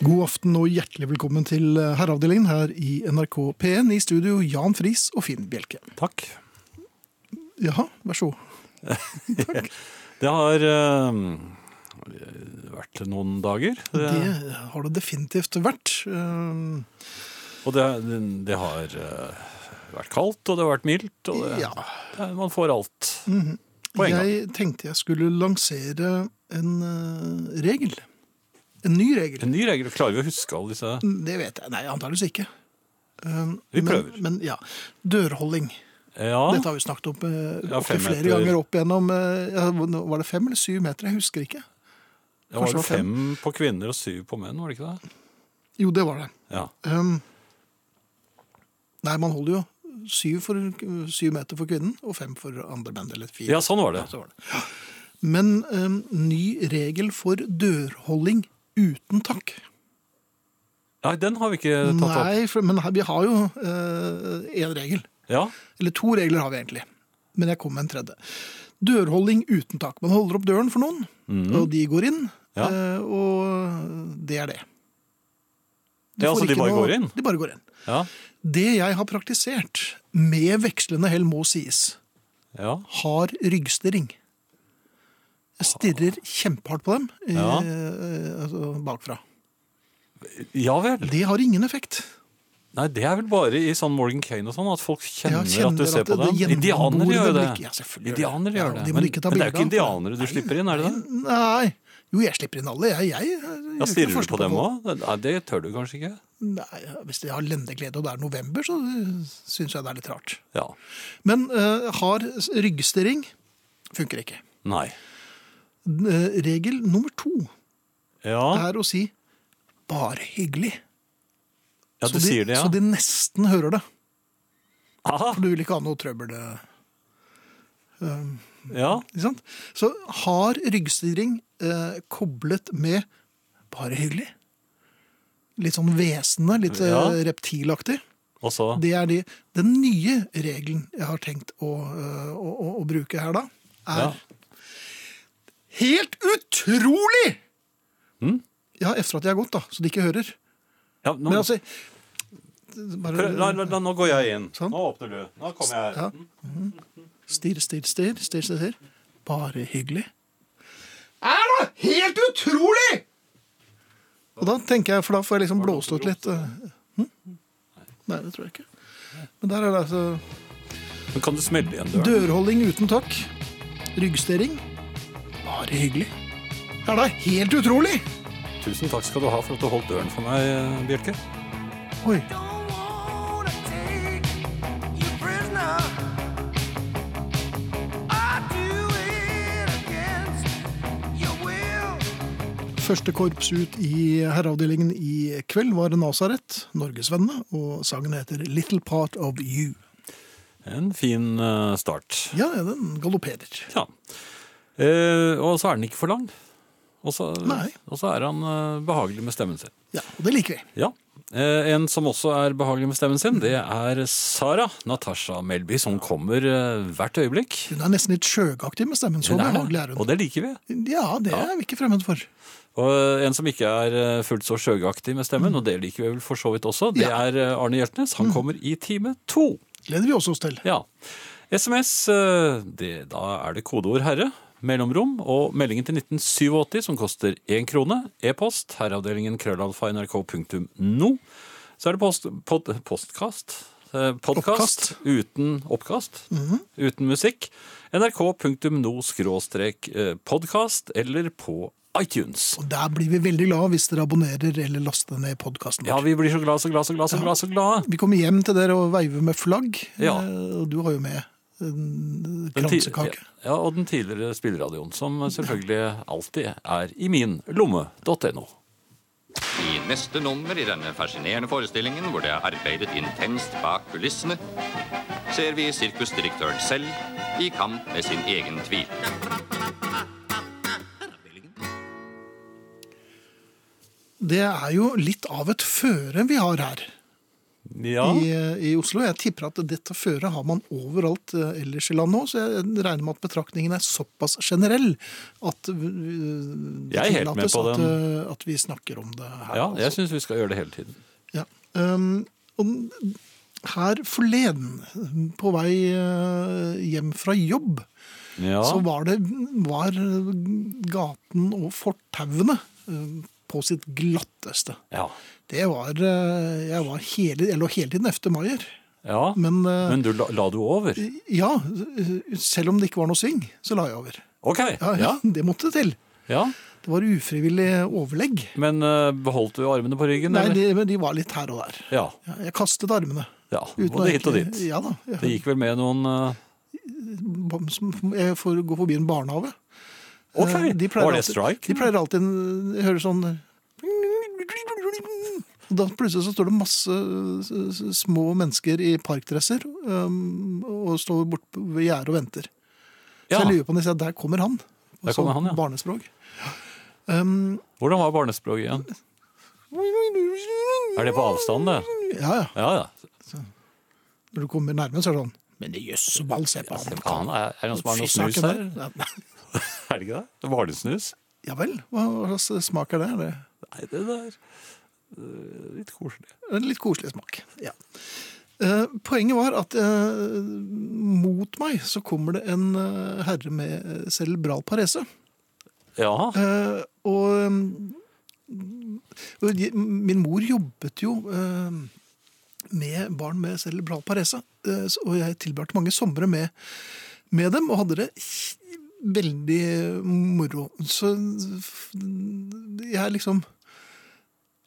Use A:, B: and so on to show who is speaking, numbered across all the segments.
A: God aften og hjertelig velkommen til eh, Herreavdelingen her i NRK P1. I studio Jan Friis og Finn Bjelke.
B: Takk.
A: Jaha, vær så god.
B: Det har eh, vært noen dager. Det,
A: Det har det definitivt vært. Eh,
B: Og det, det har eh, vært kaldt, og det har vært mildt. Og det,
A: Ja.
B: det, man får alt på en gang.
A: mhm. Jeg tenkte jeg skulle lansere en eh, regel. En ny regel.
B: En ny regel. Klarer vi å huske alle disse
A: Det vet jeg. Nei, antakeligvis ikke. Eh,
B: Vi prøver.
A: Men, men ja. Dørholding.
B: Ja.
A: Dette har vi snakket om eh,
B: Ja,
A: opptil
B: fem
A: flere
B: meter.
A: ganger opp igjennom. eh, ja, var det fem eller syv meter? Jeg husker ikke.
B: Det var
A: kanskje det
B: vel
A: var
B: fem på kvinner og syv på menn, var det ikke det?
A: Jo, det var det.
B: Ja.
A: Ehm, nei, man holder jo syv, for, syv meter for kvinnen og fem for andre menn. Eller fire.
B: ja, sånn var det.
A: Så var det. Men ehm, ny regel for dørholding uten takk.
B: Nei, den har vi ikke tatt opp.
A: Nei, for, men her- vi har jo én regel.
B: Ja.
A: Eller to regler har vi egentlig. Men jeg kom med en tredje. Dørholding uten tak. Man holder opp døren for noen, og de går inn.
B: Mhm. Ja.
A: eh, Og det er det. Du
B: Ja,
A: får
B: altså, de
A: ikke
B: bare går inn?
A: De bare går inn.
B: Ja.
A: Det jeg har praktisert, med vekslende hell må sies,
B: ja.
A: har ryggstirring. Jeg stirrer kjempehardt på dem eh,
B: Ja.
A: eh, altså bakfra.
B: Ja vel.
A: Det har ingen effekt.
B: Nei, det er vel bare i sånn Morgan Kane og sånn at folk kjenner,
A: Jeg kjenner
B: at du ser
A: at
B: på
A: det-
B: dem.
A: det
B: Indianere
A: gjennomborer
B: gjør jo det.
A: blikket. Ja, selvfølgelig gjør det.
B: Indianere
A: Ja,
B: gjør
A: de
B: det.
A: må
B: Men,
A: ikke ta
B: men det er jo
A: bilder
B: ikke
A: av.
B: indianere du
A: Nei.
B: slipper inn, er det det?
A: Nei. Jo, jeg slipper inn alle. Jeg, jeg, jeg,
B: Ja, Stirrer du
A: forskjell
B: på dem òg? Nei, det tør du kanskje ikke.
A: Nei, Hvis jeg har lendeglede og det er november, så syns jeg det er litt rart.
B: Ja.
A: Men eh, har ryggstirring funker ikke.
B: Nei.
A: Eh, regel nummer to
B: Ja,
A: er å si 'bare hyggelig'.
B: ja du
A: så, de,
B: sier det, ja.
A: så de nesten hører det.
B: Aha,
A: For du vil ikke ha noe trøbbel. eh,
B: ja.
A: Ikke sant? Så har ryggstyring eh, koblet med 'bare hyggelig'. Litt sånn hvesende, litt eh,
B: Ja.
A: reptilaktig.
B: Og så
A: Det er de, den nye regelen jeg har tenkt å, øh, å, å, å bruke her, da. Er
B: ja.
A: helt utrolig!
B: Mm.
A: Ja, etter at jeg har gått, da, så de ikke hører.
B: ja nå,
A: Men altså bare,
B: Mm. prøv- la, la, la, nå går jeg inn.
A: Sånn.
B: Nå åpner du. Nå kommer jeg her.
A: ja. Mhm. Stirr, stirr, stirr, stirr, stirr. stirr. Bare hyggelig. Er da helt utrolig! Og da tenker jeg, for da får jeg liksom blåst ut litt. øh, hm? Nei, det tror jeg ikke. Men der er det altså
B: Men kan du smelle igjen døren?
A: Dørholding uten takk. Ryggstering. Bare hyggelig. Er da helt utrolig!
B: Tusen takk skal du ha for at du holdt døren for meg, eh, Bjelke.
A: Oi.
C: Don't wanna take you prisoner. I do it against your will.
A: Første korps ut i herreavdelingen i kveld var Nasaret, Norgesvennene, og sangen heter Little Part of You.
B: En fin eh, start.
A: Ja, ja, den galopperer.
B: Ja. Eh, og så er den ikke for lang. Og så,
A: Nei.
B: og så er han eh, behagelig med stemmen sin.
A: Ja, og det liker vi.
B: Ja. Eh, en som også er behagelig med stemmen sin, det er Sara Natasha Melby, som kommer eh, hvert øyeblikk.
A: Hun er nesten litt sjøgaktig med stemmen, så
B: Hun er det,
A: behagelig er
B: Og
A: hun.
B: det liker vi.
A: Ja, det er vi ikke fremmed for.
B: Og eh, en som ikke er eh, fullt så sjøgaktig med stemmen, og det liker vi vel for så vidt også,
A: Mm.
B: det
A: Ja. Mm.
B: er eh, Arne Hjeltnes. Han kommer i time to.
A: Gleder vi også oss til.
B: Ja. SMS, eh, det, da er det kodeord herre, mellomrom og meldingen til 1987 som koster én krone. E-post herreavdelingen krøllalfa nrk.no. Så er det post, pod, postkast. eh, Podkast
A: Oppkast. Mhm.
B: uten oppkast. Uten musikk. nrk.no skråstrek podkast eller på iTunes.
A: Og der blir vi veldig glad hvis dere abonnerer eller laster ned podkasten.
B: Ja, vi blir så glad, så glad, så glad, så glad, så glad.
A: Vi kommer hjem til dere og veiver med flagg.
B: Ja.
A: Eh, Og du har jo med en
B: Den ti-
A: kransekake.
B: Ja, og den tidligere spilleradioen, som selvfølgelig alltid er i min lomme.no.
D: I neste nummer i denne fascinerende forestillingen, hvor det er arbeidet intenst bak kulissene, ser vi sirkusdirektøren selv i kamp med sin egen tvil.
A: Det er jo litt av et føre vi har her.
B: Ja.
A: i, eh, i Oslo. Jeg tipper at dette føret har man overalt eh, ellers i landet òg, så jeg regner med at betraktningen er såpass generell at eh, det
B: Jeg er helt med
A: tillates
B: på
A: at,
B: den.
A: eh, at vi snakker om det her.
B: ja, jeg
A: altså.
B: syns vi skal gjøre det hele tiden.
A: Ja. Um, og her forleden, på vei eh, hjem fra jobb,
B: Ja.
A: så var det var gaten og fortauene eh, på sitt glatteste.
B: ja.
A: Det var eh, Jeg var hele, jeg lå hele tiden efter Maier.
B: ja. Men,
A: Men, eh,
B: du la, la du over?
A: ja, eh, selv om det ikke var noe sving, så la jeg over.
B: OK.
A: Ja, ja,
B: Ja.
A: Det måtte til.
B: ja.
A: Det var ufrivillig overlegg.
B: Men eh, beholdt du armene på ryggen?
A: Nei,
B: eller?
A: de, men de var litt her og der.
B: Ja.
A: Ja, jeg kastet armene.
B: ja.
A: uten å
B: Både hit og
A: egentlig-
B: dit.
A: Ja da. Jeg,
B: Det gikk vel med noen eh,
A: som- jeg får gå forbi en barnehage.
B: OK.
A: Eh, de pleier
B: var det
A: alltid-
B: strike?
A: De pleier alltid en- Jeg hører sånn og da plutselig så står det masse eh, s- små mennesker i parkdresser um, og står bort ved gjerdet og venter. Så
B: Ja.
A: jeg lurer på om de sier at der kommer han. Og
B: Der kommer
A: så
B: han, ja.
A: Barnespråk.
B: Hvordan var barnespråket igjen? Er det på avstand, det?
A: Ja, ja.
B: Ja, ja.
A: Når du kommer nærmere, så er det sånn Men det jøss, så ball, se på han.
B: Faen, er, er det noen som har noe
A: Fy
B: snus
A: søken
B: her?
A: der. Ja,
B: Er det ikke det? Barnesnus?
A: Ja vel. Hva hva slags smak er det? Er det?
B: Nei, det der eh, Litt koselig.
A: En litt koselig smak. Ja. Eh, poenget var at eh, mot meg så kommer det en eh, herre med eh, cerebral parese.
B: Ja.
A: Eh, og, mm, og de- min mor jobbet jo eh, med barn med cerebral parese. eh, så- og jeg tilbrakte mange somre med, med dem, og hadde det kj- veldig moro. Så f- jeg liksom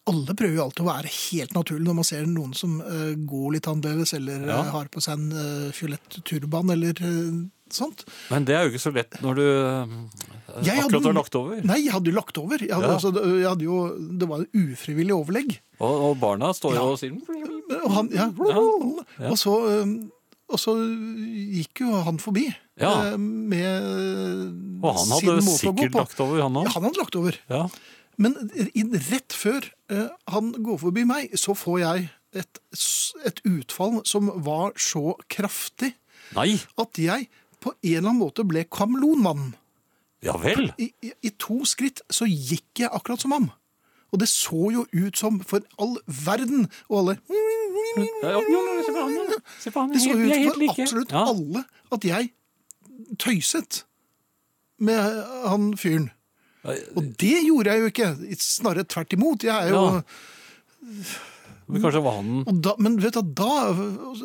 A: alle prøver jo alltid å være helt naturlig når man ser noen som eh, går litt annerledes, eller
B: Ja.
A: eh, har på seg en eh, fiolett turban, eller eh, sånt.
B: Men det er jo ikke så lett når du eh,
A: Jeg hadde
B: akkurat
A: jo-
B: har lagt over.
A: Nei, jeg hadde jo lagt over. Jeg hadde,
B: Ja.
A: altså, jeg hadde jo, det var en ufrivillig overlegg.
B: Og, og barna står jo
A: Ja.
B: og sier "Mm,
A: Og, han, ja,
B: Ja.
A: Og, så, øhm, og så gikk jo han forbi.
B: Ja.
A: øh, Med
B: Og han
A: sin
B: hadde
A: måte å gå
B: sikkert
A: på.
B: lagt over, han
A: Ja,
B: òg.
A: han hadde lagt over.
B: Ja.
A: Men i- rett før øh, han går forbi meg, så får jeg et, s- et utfall som var så kraftig
B: Nei,
A: at jeg på en eller annen måte ble kameleonmannen.
B: ja vel.
A: i, i, i to skritt så gikk jeg akkurat som ham. Og det så jo ut som for all verden og alle
B: Ja, jo, jo, se på han, ja. Se på han,
A: Det så
B: vi
A: ut
B: er helt
A: for
B: like.
A: absolutt
B: Ja.
A: alle at jeg tøyset med han fyren. Og det gjorde jeg jo ikke. Snarere tvert imot. Jeg er jo
B: Ja. Men kanskje var han
A: og da, Men vet du, da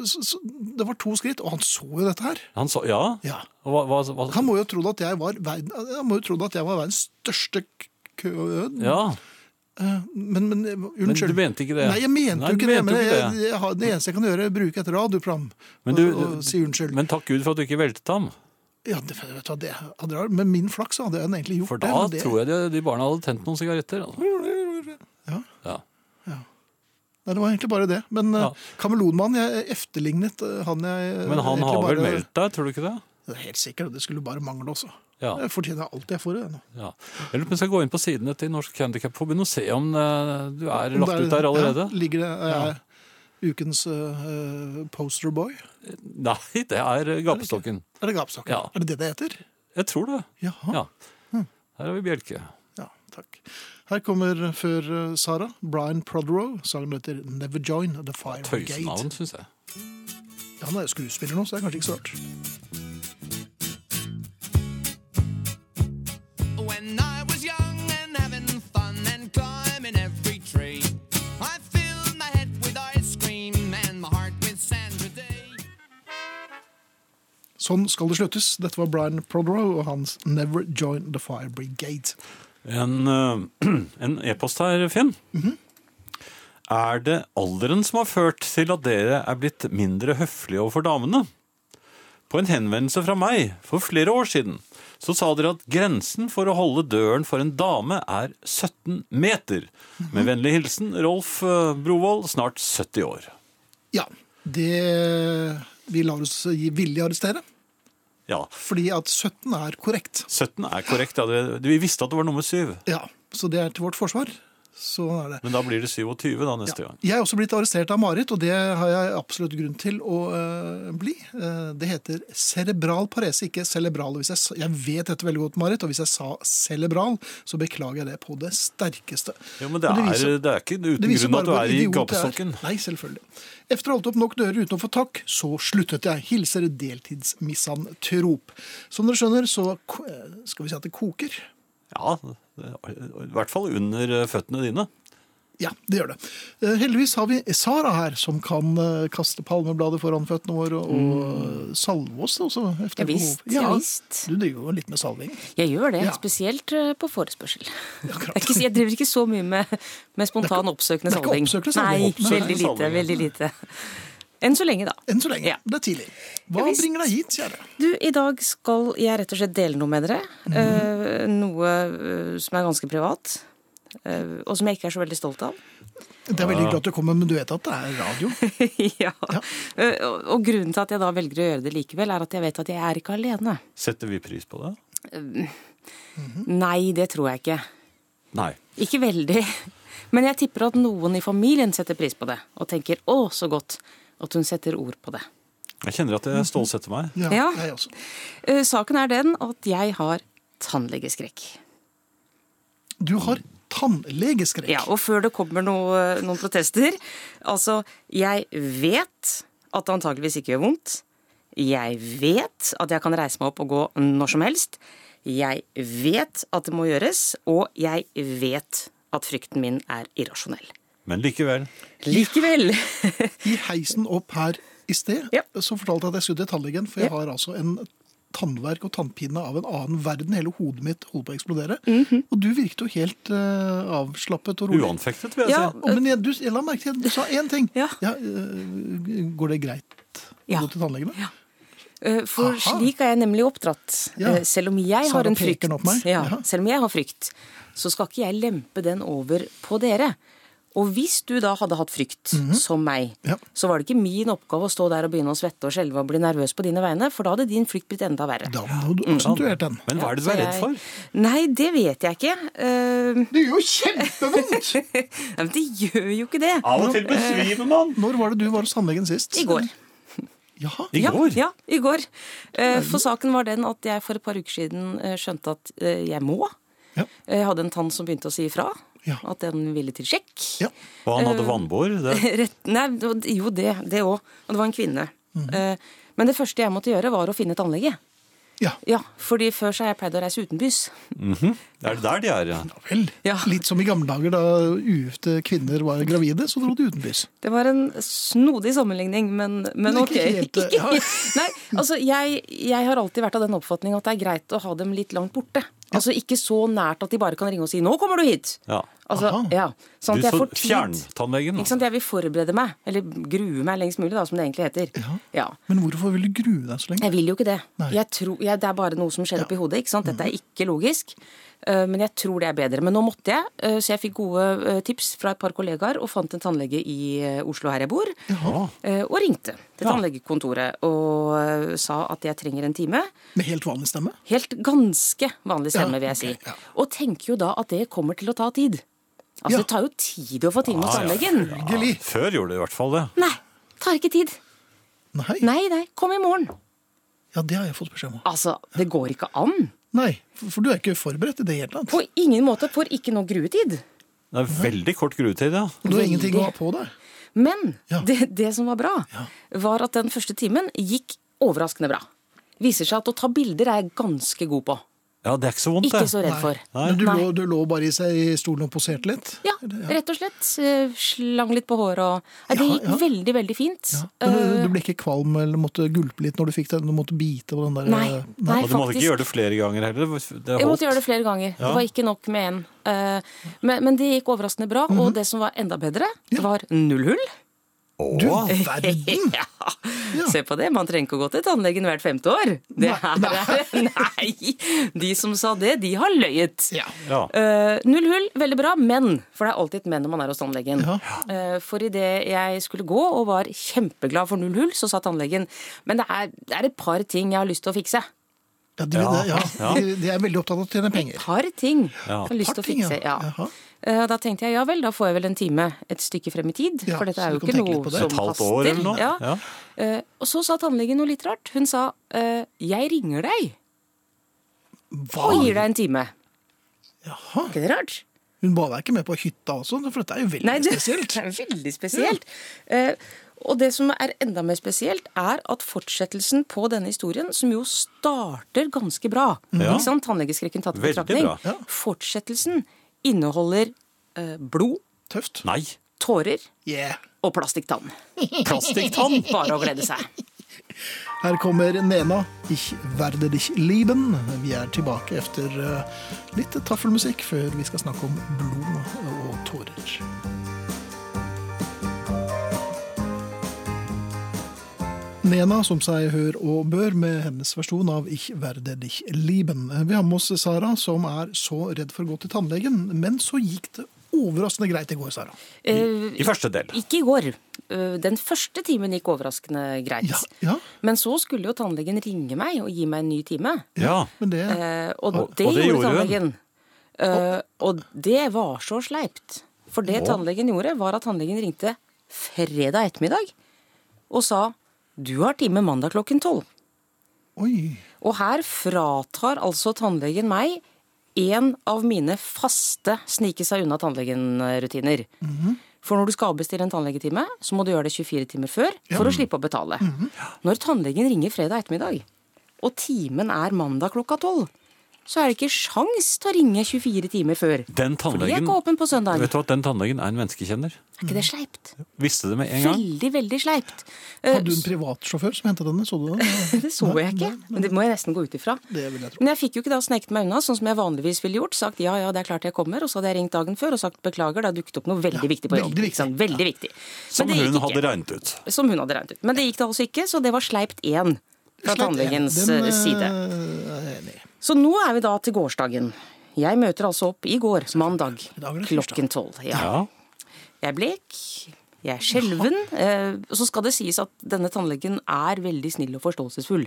A: så- så- Det var to skritt, og han så jo dette her.
B: Han sa ja?
A: Ja.
B: Og Hva, hva, hva,
A: Han må jo ha trodd at jeg var verden, han må jo ha trodd at jeg var verdens største k- kø...
B: ja.
A: Men, men
B: Men
A: unnskyld.
B: du mente ikke det?
A: Nei, jeg mente
B: Nei,
A: jo
B: du
A: ikke det. Men
B: jo
A: jeg,
B: ikke det.
A: jeg, har- det eneste jeg kan gjøre, er å bruke et radioprogram
B: Men du-
A: og, og si unnskyld.
B: Men takk Gud for at du ikke veltet ham.
A: ja, det, vet du hva, det hadde jeg, Med min flaks hadde jeg egentlig gjort
B: For da
A: det. men det.
B: tror jeg de, de barna hadde tent noen sigaretter. altså.
A: Ja.
B: Ja.
A: Nei, det var egentlig bare det. Men
B: Ja.
A: ja. kameleonmannen, jeg efterlignet eh, han jeg eh,
B: Men han
A: egentlig
B: har vel
A: bare-
B: meldt deg, tror du ikke det?
A: Det er Helt sikkert, og det skulle bare mangle også.
B: Ja.
A: Jeg fortjener alt jeg får i det nå.
B: ja. Jeg lurer på om jeg skal gå inn på sidene til Norsk Handikapforbund og se om eh, du er
A: Om
B: lagt
A: det er-
B: ut der allerede.
A: Ja, ligger det er jeg ukens eh, posterboy?
B: Nei, det er eh, gapestokken.
A: Er det gapstokken?
B: Ja.
A: Er det det det heter?
B: Jeg tror det.
A: Jaha.
B: Ja.
A: Hm.
B: Her har vi bjelke.
A: Ja, takk. Her kommer før eh, Sara, Brian Proderow. Sangen heter Never Join The Fire Brigade.
B: Tøysenavn, syns jeg.
A: Ja, han er jo skuespiller nå, så det er kanskje ikke så rart.
E: When I was young and having fun and climbing every tree, I filled my head with ice cream and my heart with sand today.
A: Sånn skal det sluttes. Dette var Brian Proderow og hans Never Join The Fire Brigade.
B: En eh, en e-post her, Finn.
A: Mhm.
B: Er det alderen som har ført til at dere er blitt mindre høflige overfor damene? På en henvendelse fra meg for flere år siden så sa dere at grensen for å holde døren for en dame er 17 meter.
A: Mhm.
B: Med vennlig hilsen Rolf eh, Brovold, snart 70 år.
A: Ja, det Vi lar oss gi villig arrestere,
B: Ja,
A: fordi at 17 er korrekt.
B: 17 er korrekt. Ja, det, vi visste at det var nummer 7.
A: Ja, Så det er til vårt forsvar. Sånn er det.
B: Men da blir det 27 da neste gang.
A: Jeg er også blitt arrestert av Marit, og det har jeg absolutt grunn til å øh, bli. Eh, det heter cerebral parese, ikke cerebral. Og Hvis jeg, sa- jeg vet dette veldig godt, Marit, og hvis jeg sa cerebral, så beklager jeg det på det sterkeste.
B: Ja, men det
A: Og
B: er,
A: viser-
B: det er ikke uten
A: det viser
B: grunn
A: bare
B: at du
A: hvor
B: er
A: idiot
B: i
A: jeg er.
B: gapestokken.
A: Nei, selvfølgelig. Efter å ha holdt opp nok dører uten å få takk, så sluttet jeg. Hilser deltidsmisantrop. Som dere skjønner, så ko- eh, skal vi si at det koker.
B: Ja, det er- i hvert fall under eh, føttene dine.
A: Ja, det gjør det. Eh, Heldigvis har vi Sara her, som kan eh, kaste palmeblader foran føttene våre, og mm. salve oss også. Efter
F: Ja visst,
A: behov.
F: ja visst.
A: Du driver jo litt med salving.
F: Jeg gjør det,
A: Ja.
F: spesielt eh, på forespørsel.
A: Akkurat.
F: Det er ikke, jeg driver ikke så mye med, med spontan oppsøkende
A: det er ikke
F: salving.
A: oppsøkende
F: Nei,
A: salving. Oppsøkende
F: veldig lite.
B: salving, ja.
F: veldig lite. Enn så lenge, da.
A: Enn så lenge.
F: Ja.
A: Det er tidlig. Hva
F: Ja visst.
A: bringer deg hit, kjære?
F: Du, I dag skal jeg rett og slett dele noe med dere.
A: Mhm.
F: eh, noe eh, som er ganske privat, eh, og som jeg ikke er så veldig stolt av.
A: Det er veldig hyggelig at du kommer, men du vet at det er radio.
F: ja. Eh, og, og grunnen til at jeg da velger å gjøre det likevel, er at jeg vet at jeg er ikke alene.
B: Setter vi pris på det?
A: Mhm.
F: Nei, det tror jeg ikke.
B: Nei.
F: Ikke veldig. Men jeg tipper at noen i familien setter pris på det, og tenker 'å, så godt' at hun setter ord på det.
B: Jeg kjenner at jeg stålsetter meg.
A: Ja,
F: Ja.
A: Jeg også.
F: Eh, Saken er den at jeg har tannlegeskrekk.
A: Du har tannlegeskrekk.
F: Ja, og før det kommer noe, noen protester Altså, jeg vet at det antageligvis ikke gjør vondt. Jeg vet at jeg kan reise meg opp og gå når som helst. Jeg vet at det må gjøres, og jeg vet at frykten min er irrasjonell.
B: Men likevel.
F: Likevel.
A: I heisen opp her i sted
F: Ja.
A: så fortalte jeg at jeg skulle til tannlegen, for jeg
F: Ja.
A: har altså en tannverk og tannpine av en annen verden. Hele hodet mitt holder på å eksplodere.
F: Mhm.
A: Og du virket jo helt eh, avslappet og rolig.
B: Uanfektet, vil jeg
F: Ja.
B: si.
A: Å, men jeg, du, jeg la merke til at du sa én ting.
F: Ja.
A: øh, går det greit å
F: Ja.
A: gå til tannlegen? da?
F: Eh, For
A: Aha.
F: slik er jeg nemlig oppdratt.
A: Ja.
F: Eh, Selv om jeg
A: Sara
F: har en
A: peker
F: frykt,
A: den opp meg.
F: ja,
A: Ja.
F: selv om jeg har frykt, så skal ikke jeg lempe den over på dere. Og hvis du da hadde hatt frykt, som meg,
A: Ja.
F: så var det ikke min oppgave å stå der og begynne å svette og skjelve og bli nervøs på dine vegne, for da hadde din frykt blitt enda verre.
A: Da må du aksentuert den.
B: Men hva er det du
F: Så
B: er redd
F: jeg-
B: for?
F: Nei, det vet jeg ikke. Eh,
A: Det gjør jo kjempevondt!
F: Nei, men det gjør jo ikke det.
B: Av og til besvimer man.
A: Når var det du var hos tannlegen sist?
F: I går.
A: Jaha.
B: I går?
F: Ja, ja i går. Eh, For saken var den at jeg for et par uker siden eh, skjønte at eh, jeg må.
A: Ja.
F: Jeg hadde en tann som begynte å si ifra.
A: Ja.
F: At den ville til sjekk.
A: Ja.
B: Og han
F: Eh.
B: hadde vannbår. Det.
F: Rett, nei, jo, det òg. Det også. og det var en kvinne.
A: Mhm.
F: Eh, Men det første jeg måtte gjøre, var å finne tannlege.
A: ja.
F: Ja, fordi før så har jeg pleid å reise utenbys.
B: Det er der de er. ja.
A: Ja vel.
F: Ja.
A: Litt som i gamle dager da uøfte kvinner var gravide, så dro de utenbys.
F: Det var en snodig sammenligning, men, men
A: Men
F: ok.
A: ikke helt, eh, ja.
F: Nei, altså jeg, jeg har alltid vært av den oppfatning at det er greit å ha dem litt langt borte. Altså ikke så nært at de bare kan ringe og si 'nå kommer du hit'.
B: Ja.
F: Altså,
A: Aha.
F: ja,
B: Du
F: sånn at jeg
B: så
F: får tid.
B: fjerntannlegen.
F: Ikke sant? Jeg vil forberede meg, eller grue meg lengst mulig, da, som det egentlig heter. Ja.
A: Men hvorfor vil du grue deg så lenge?
F: Jeg vil jo ikke det.
A: Nei.
F: Jeg tror, jeg, det er bare noe som skjer oppi hodet. ikke sant? Dette er ikke logisk. eh, Men jeg tror det er bedre. Men nå måtte jeg, eh, så jeg fikk gode eh, tips fra et par kollegaer og fant en tannlege i eh, Oslo her jeg bor. eh, Og ringte til
B: Ja.
F: tannlegekontoret og eh, sa at jeg trenger en time.
A: Med helt vanlig stemme?
F: Helt ganske vanlig stemme,
A: Ja,
F: vil jeg si.
A: ok, ja.
F: Og tenker jo da at det kommer til å ta tid. Altså,
A: Ja.
F: det tar jo tid å få time hos
B: Ah, ja.
F: tannlegen.
A: Geli.
B: altså. Før gjorde det i hvert fall det.
F: Nei, tar ikke tid.
A: Nei.
F: Nei, nei, kom i morgen.
A: Ja, det har jeg fått beskjed om.
F: Altså, det går ikke an.
A: Nei, for, for du er ikke forberedt i det hele tatt.
F: På ingen måte får ikke noe gruetid.
B: Det er veldig kort gruetid, ja.
A: Du har ingenting
F: Veldig.
A: å ha på deg.
F: Men
A: Ja.
F: det, det som var bra, var at den første timen gikk overraskende bra. Viser seg at å ta bilder er jeg ganske god på.
B: Ja, Det er ikke så vondt,
F: Ikke
B: det.
F: så redd for.
B: Nei.
A: Men du
F: Nei.
A: lå, du lå bare i, seg, i stolen og poserte litt?
F: Ja, rett og slett. eh, Slang litt på håret og Nei, Det
A: Ja,
F: gikk
A: ja.
F: veldig, veldig fint.
A: Ja.
F: Eh,
A: Men du- du ble ikke kvalm eller måtte gulpe litt når du fikk den? Du måtte bite på den der
F: Nei,
A: eh,
F: nei,
B: Og du måtte
F: faktisk.
B: ikke gjøre det flere ganger heller. Det
F: Jeg måtte
B: holdt.
F: gjøre det flere ganger. Det var ikke nok med én. Eh, Men, men det gikk overraskende bra. Og det som var enda bedre, var null hull.
A: Du verden!
F: Ja.
A: Ja.
F: Se på det, man trenger ikke å gå til tannlegen hvert femte år. Det her er, nei, de som sa det, de har løyet.
A: Ja.
B: Ja.
F: Eh, null hull, veldig bra, men. For det er alltid et men når man er hos tannlegen.
A: Ja.
F: Eh, for idet jeg skulle gå og var kjempeglad for null hull, så sa tannlegen men det er, det er et par ting jeg har lyst til å fikse.
A: Ja, de,
B: Ja.
A: ja. De, de er veldig opptatt av å tjene penger.
F: Par ting jeg
B: Ja.
F: har lyst til å
A: Par ting, ja.
F: fikse. Ja.
A: Jaha.
F: Eh, Da tenkte jeg ja vel, da får jeg vel en time et stykke frem i tid.
A: Ja,
F: for dette
A: så
F: er jo
A: du kan
F: ikke
A: tenke litt
F: noe
A: på det.
F: som
B: Et halvt
F: haster.
B: år eller noe?
F: Ja.
B: Ja.
F: Eh, Og så sa tannlegen noe litt rart. Hun sa eh, jeg ringer deg
A: Hva?
F: og gir deg en time.
A: Jaha.
F: Er ikke det rart?
A: Hun ba deg ikke med på hytta også, for dette er jo veldig
F: Nei, det,
A: spesielt.
F: det er veldig spesielt. Eh, og det som er enda mer spesielt, er at fortsettelsen på denne historien, som jo starter ganske bra
B: Ja.
F: ikke sant? Tannlegeskrekken tatt i
B: Veldig
F: betraktning.
B: bra.
A: Ja.
F: Fortsettelsen inneholder eh, blod,
A: Tøft.
B: Nei.
F: tårer
A: Yeah.
F: og plastikktann.
B: Plastikktann.
F: Bare å glede seg.
A: Her kommer Nena, Ich werde dich lieben. Vi er tilbake efter eh, litt taffelmusikk før vi skal snakke om blod og tårer. Nena, som seg hør og bør, med hennes versjon av Ich werde dich lieben. Vi har med oss Sara, som er så redd for å gå til tannlegen, men så gikk det overraskende greit i går, Sara.
F: Eh,
B: I første del.
F: Ikke i går. Eh, Den første timen gikk overraskende greit.
A: Ja, ja.
F: Men så skulle jo tannlegen ringe meg og gi meg en ny time.
B: Ja.
A: Men det
F: Eh, og,
B: Og-
F: det
B: og det
F: gjorde
B: gjorde hun.
F: tannlegen. Eh, og det var så sleipt. For det tannlegen gjorde, var at tannlegen ringte fredag ettermiddag og sa du har time mandag klokken tolv.
A: Oi.
F: Og her fratar altså tannlegen meg en av mine faste snike seg unna tannlegen-rutiner. For når du skal avbestille en tannlegetime, så må du gjøre det 24 timer før for å slippe å betale. Når tannlegen ringer fredag ettermiddag, og timen er mandag klokka tolv, så er det ikke sjans til å ringe 24 timer før.
B: Den
F: For de er
B: tannlegen
F: ikke åpen på søndag.
B: Vet du at den tannlegen er en menneskekjenner?
F: Er ikke det sleipt?
B: Visste det med en gang.
F: Veldig, veldig sleipt. Eh,
A: Hadde du en privatsjåfør som hentet henne? Så du det?
F: Det så jeg ikke, men det må jeg nesten gå ut ifra.
A: Det vil jeg tro.
F: Men jeg fikk jo ikke da sneket meg unna, sånn som jeg vanligvis ville gjort. Sagt ja, ja, det er klart jeg kommer, og så hadde jeg ringt dagen før og sagt beklager, det har dukket opp noe veldig
A: Ja,
F: viktig på
A: veldig
F: helgen.
A: viktig.
F: ikke sant? Veldig viktig. Men
B: Som
F: det gikk
B: hun
F: ikke.
B: hadde regnet ut.
F: Som hun hadde regnet ut. Men det gikk da altså ikke, så det var sleipt én fra
A: Slett en. eh,
F: tannlegens
A: Den,
F: eh,
A: eh,
F: side.
A: er jeg enig i.
F: Så nå er vi da til gårsdagen. Jeg møter altså opp i går, mandag,
A: I dag er det tirsdag.
F: klokken tolv. Ja.
B: Ja.
F: Jeg er blek, jeg er skjelven. eh, Og så skal det sies at denne tannlegen er veldig snill og forståelsesfull.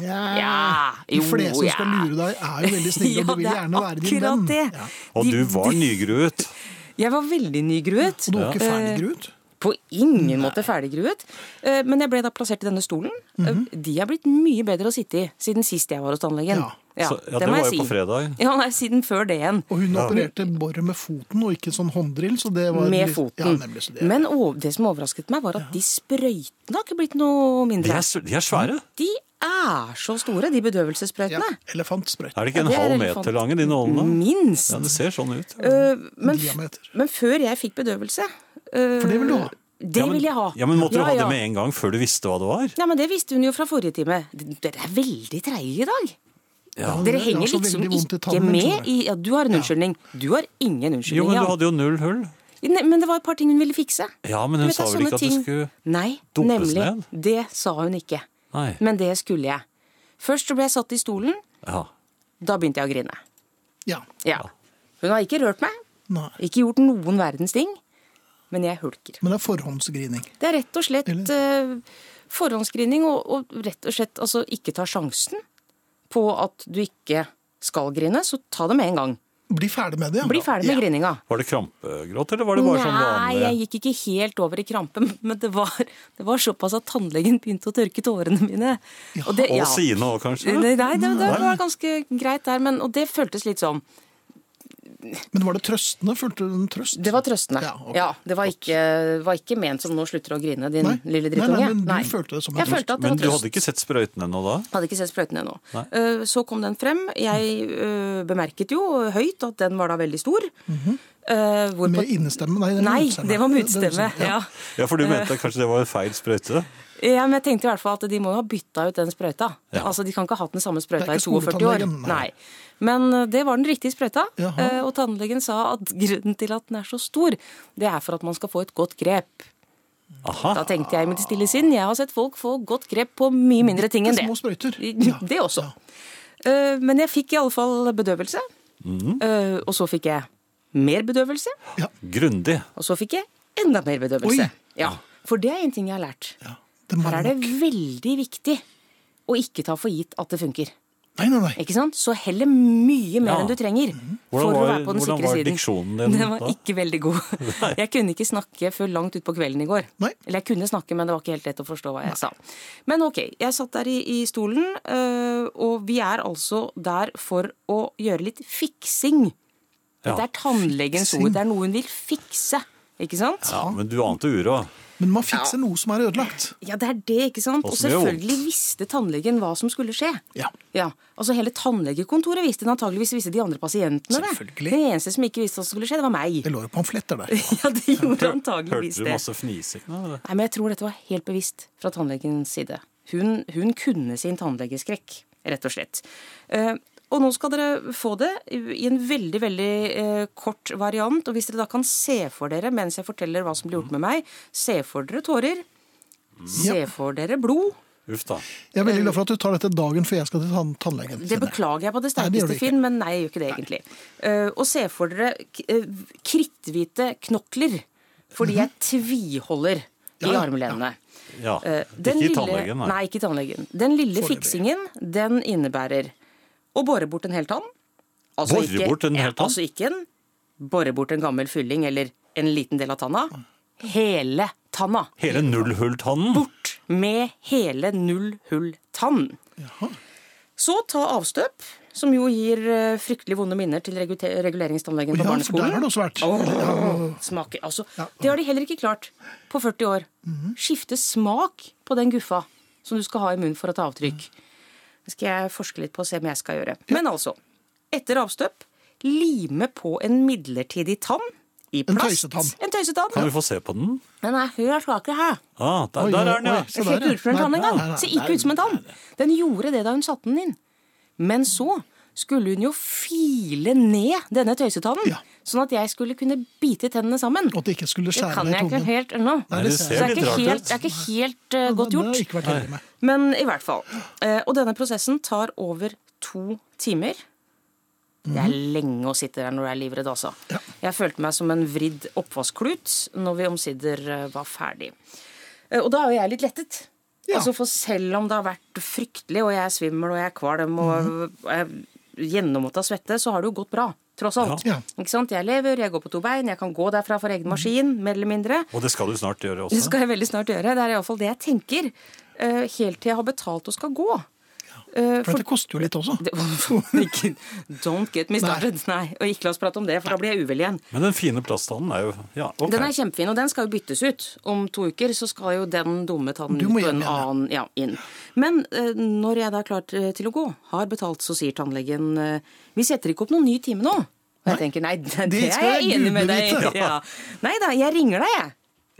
A: Ja.
F: Ja,
A: De
F: jo,
A: fleste som
F: ja.
A: skal lure deg, er jo veldig snille, og du vil
F: det er
A: gjerne være din venn.
F: akkurat det.
A: Ja.
B: Og
F: De-
B: du var nygruet.
F: Jeg var veldig nygruet. Eh,
A: Og du var ikke ferdiggruet?
F: På ingen måte ferdiggruet. Eh, Men jeg ble da plassert i denne stolen.
A: Mhm.
F: Eh, De er blitt mye bedre å sitte i siden sist jeg var hos tannlegen.
A: Ja.
B: Så- ja, det
F: må
B: var
F: jeg
B: jo på fredag.
F: Ja, nei, siden før det igjen.
A: Og hun opererte bare med foten og ikke sånn hånddrill, så det var
F: Med
A: litt-
F: foten.
A: Ja, nemlig, så det.
F: Men o- det som overrasket meg, var at de sprøytene har ikke blitt noe
B: De
F: mindre.
B: er, s- de er svære.
F: De er så store, de bedøvelsessprøytene.
A: ja, Elefantsprøyt.
B: Er det ikke
F: Ja,
B: en
F: det er
B: halv
F: elefant. Mm.
B: meter lange, de nålene?
F: Minst.
B: Ja, det ser sånn ut.
F: Eh, Men,
A: Mm. Diameter.
F: men før jeg fikk bedøvelse eh,
A: For det vil du ha.
F: Det
B: ja, men,
F: vil jeg ha.
B: Ja, men Måtte du
F: Ja,
B: ha
F: ja.
B: det med en gang før du visste hva det var?
F: Ja, men Det visste hun jo fra forrige time. D- Dere er veldig treige i dag.
B: Ja.
F: Dere
A: Jeg har
F: henger
A: så
F: liksom
A: altså veldig vondt i
F: ikke
A: tannen, skjønner
F: med
A: du.
F: i ja, Du har en unnskyldning. Du har ingen
B: Jo,
F: unnskyldning.
B: men du
F: Jan.
B: hadde jo null hull.
F: Ne- men det var et par ting hun ville fikse.
B: Ja, men hun
F: Vet du,
B: sa vel
F: sånne
B: ikke at det
F: ting-
B: skulle
F: Nei,
B: dumpes
F: nemlig.
B: ned?
F: Det sa hun ikke.
B: Nei.
F: Men det skulle jeg. Først så ble jeg satt i stolen.
B: Ja.
F: Da begynte jeg å grine.
A: Ja.
F: Ja. Hun har ikke rørt meg.
A: Nei.
F: Ikke gjort noen verdens ting. Men jeg hulker.
A: Men det er forhåndsgrining.
F: Det er rett og slett
A: Eller-
F: eh, forhåndsscreening og, og rett og slett altså, ikke ta sjansen på at du ikke skal grine, så ta det med en gang.
A: Bli ferdig med det. ja.
F: Bli ferdig med
A: Ja.
F: grininga.
B: Var det krampegråt, eller var det bare sånn
F: Nei, jeg
B: vanlig?
F: gikk ikke helt over i krampe, men det var, det var såpass at tannlegen begynte å tørke tårene mine. Og, det,
B: Og
F: ja.
B: sine òg, kanskje?
F: Nei, det, det var ganske greit der, men, og det føltes litt sånn.
A: Men var det trøstende? Følte du en trøst?
F: Det var trøstende. Ja,
A: Ja, ok.
F: det var ikke, var ikke ment som 'nå slutter du å grine, din
A: Nei.
F: lille
A: Nei, nei,
F: drittunge'.
A: men du følte det som en
F: Jeg
A: trøst.
F: følte at det
B: Men
F: var
B: du
F: trøst.
B: hadde ikke sett sprøyten ennå da?
F: Hadde ikke sett sprøyten ennå.
B: Nei.
F: Eh, Så kom den frem. Jeg eh, bemerket jo høyt at den var da veldig stor. Eh,
A: Mhm.
F: hvorpå-
A: Med innestemme? Nei, det var
F: Nei,
A: utstemme.
F: det var med
A: Det- sånn, det var
F: utstemme.
A: utstemme,
F: Ja.
B: Ja,
F: Eh.
B: for du mente kanskje det var en feil sprøyte?
F: ja, men jeg tenkte i hvert fall at de må jo ha bytta ut den sprøyta.
B: Ja.
F: Altså, De kan ikke ha hatt den samme
A: Det
F: sprøyta
A: er
F: i
A: ikke
F: 42 år.
A: skoletannlegen, nei.
F: Nei. Men eh, det var den riktige sprøyta.
A: Jaha.
F: eh, Og tannlegen sa at grunnen til at den er så stor, det er for at man skal få et godt grep.
B: Aha.
F: Da tenkte jeg i mitt stille sinn, jeg har sett folk få godt grep på mye mindre ting enn det.
A: Små sprøyter. Ja.
F: Det også.
A: Ja.
F: Eh, Men jeg fikk i alle fall bedøvelse. Eh, Og så fikk jeg mer bedøvelse.
B: Grundig.
F: Og så fikk jeg enda mer bedøvelse.
A: Oi.
F: Ja, For det er en ting jeg har lært.
A: Ja. Det må
F: Her er det
A: nok-
F: veldig viktig å ikke ta for gitt at det funker.
A: Nei, nei, nei.
F: Ikke sant? Så heller mye mer
B: Ja. Mhm.
F: enn du trenger. for
B: Hvordan
F: å
B: var-
F: være på den
B: hvordan
F: sikre
B: var
F: siden.
B: diksjonen din
F: Den var
B: da?
F: ikke veldig god. Jeg kunne ikke snakke før langt utpå kvelden i går.
A: Nei.
F: Eller jeg kunne snakke, men det var ikke helt lett å forstå hva jeg sa. Men ok, jeg satt der i, i stolen, øh, og vi er altså der for å gjøre litt fiksing.
B: Ja.
F: Dette er tannlegens
A: Fiksing.
F: ord. Det er noe hun vil fikse. Ikke sant?
B: Ja, men du ante uråd.
A: Men man fikser noe som er ødelagt.
F: Ja, det er det, ikke sant? Og
B: Også det er vondt.
F: selvfølgelig visste tannlegen hva som skulle skje.
A: Ja.
F: altså Hele tannlegekontoret visste det, antageligvis visste de andre pasientene det.
A: Selvfølgelig.
F: Den eneste som ikke visste hva som skulle skje, det var meg.
A: Det lå jo pamfletter der.
F: Ja, det gjorde antageligvis
B: Hørte du
F: det.
B: masse fnising? av det?
F: Nei, men jeg tror dette var helt bevisst fra tannlegens side. Hun, hun kunne sin tannlegeskrekk, rett og slett. Eh, og nå skal dere få det i en veldig, veldig eh, kort variant. Og hvis dere da kan se for dere, mens jeg forteller hva som
B: Mm.
F: blir gjort med meg, se for dere tårer, se for dere blod.
B: Uff da.
A: Jeg er veldig glad for at du tar dette dagen før jeg skal til tann tannlegen.
F: Det beklager jeg på det
A: Nei, det gjør
F: sterkeste,
A: du ikke.
F: Finn, men nei, jeg gjør ikke det egentlig. Eh, og se for dere k- eh, kritthvite knokler, fordi jeg tviholder i
A: Mhm. ja,
F: armlenene.
B: Ja.
F: Eh,
B: Ah, Ikke
F: den
B: i
F: lille-
B: tannlegen,
F: nei.
B: nei.
F: ikke i tannlegen. Den lille
A: Foreløpig.
F: fiksingen, den innebærer å bore bort en hel tann. Altså
B: Bore bort en hel
F: ja,
B: tann?
F: Altså ikke en bore bort en gammel fylling eller en liten del av tanna.
A: Mm.
F: Hele tanna.
B: Hele nullhulltannen?
F: Bort med hele null hull tann. Så ta avstøp, som jo gir eh, fryktelig vonde minner til regu- reguleringstannlegen på
A: Ja, for
F: barneskolen.
A: der har det også vært.
F: Åh, smaker, altså, Det har de heller ikke klart på 40 år.
A: Mhm.
F: Skifte smak på den guffa som du skal ha i munnen for å ta avtrykk. Det skal jeg forske litt på og se om jeg skal gjøre. Men altså, etter avstøp, lime på en midlertidig tann i
A: En
F: plast.
A: tøysetann.
F: En tøysetann.
B: Kan vi få se på den?
F: Den er helt svak her.
B: Ah, der,
A: Oi,
B: der er den,
A: oi,
B: ja.
A: oi.
F: Det
A: Så
F: ser
A: der,
F: ikke ut som en
A: ja.
F: tann
A: Nei,
F: engang.
A: nei, nei,
F: Ser ikke ut som en tann. Den gjorde det da hun satte den inn. Men så skulle hun jo file ned denne tøysetannen,
A: Ja.
F: sånn at jeg skulle kunne bite tennene sammen.
A: Og at det ikke skulle
F: Det
A: skjære
F: kan
A: ned
F: jeg ikke
A: tungen.
F: helt ennå.
A: Nei,
B: det
A: det
B: ser
F: Så det
A: ser
F: er
A: jeg.
B: litt
F: ikke
B: rart
F: helt,
B: ut.
F: det er ikke helt eh,
A: Det
F: godt
A: har jeg
F: gjort.
A: ikke vært heldig med.
F: Men i hvert fall. Eh, og denne prosessen tar over to timer. Det er
A: Mhm.
F: lenge å sitte der når du er livredd, altså. Jeg følte meg som en vridd oppvaskklut når vi omsider eh, var ferdig. Eh, og da er jo jeg litt lettet.
A: Ja.
F: Altså For selv om det har vært fryktelig, og jeg er svimmel og jeg er kvalm og
A: Mhm.
F: jeg gjennommått av svette, så har det jo gått bra. Tross alt.
A: Ja.
F: Ikke sant? Jeg lever, jeg går på to bein, jeg kan gå derfra for egen maskin, mer eller mindre.
B: Og det skal du snart gjøre
F: Det
B: også.
F: skal jeg veldig snart gjøre. Det er iallfall det jeg tenker. eh, helt til jeg har betalt og skal gå. Eh,
A: For dette koster jo litt også.
F: det- Ikke- Don't get me started. Nei. Og ikke la oss prate om det, for da blir jeg uvel igjen.
B: Men den fine plasttannen er jo ja, ok.
F: Den er kjempefin, og den skal jo byttes ut. Om to uker så skal jo den dumme tannen
A: Du
F: ut
A: må
F: og en
A: hjem igjen, ja.
F: annen ja, inn. Men eh, når jeg da er klar til til å gå, har betalt, så sier tannlegen eh, vi setter ikke opp noen ny time nå. Og jeg tenker nei, det, det er
A: skal
F: jeg
A: jeg
F: enig med
A: gudene
F: deg
A: vite.
F: i. Ja. Nei da, jeg ringer deg, jeg.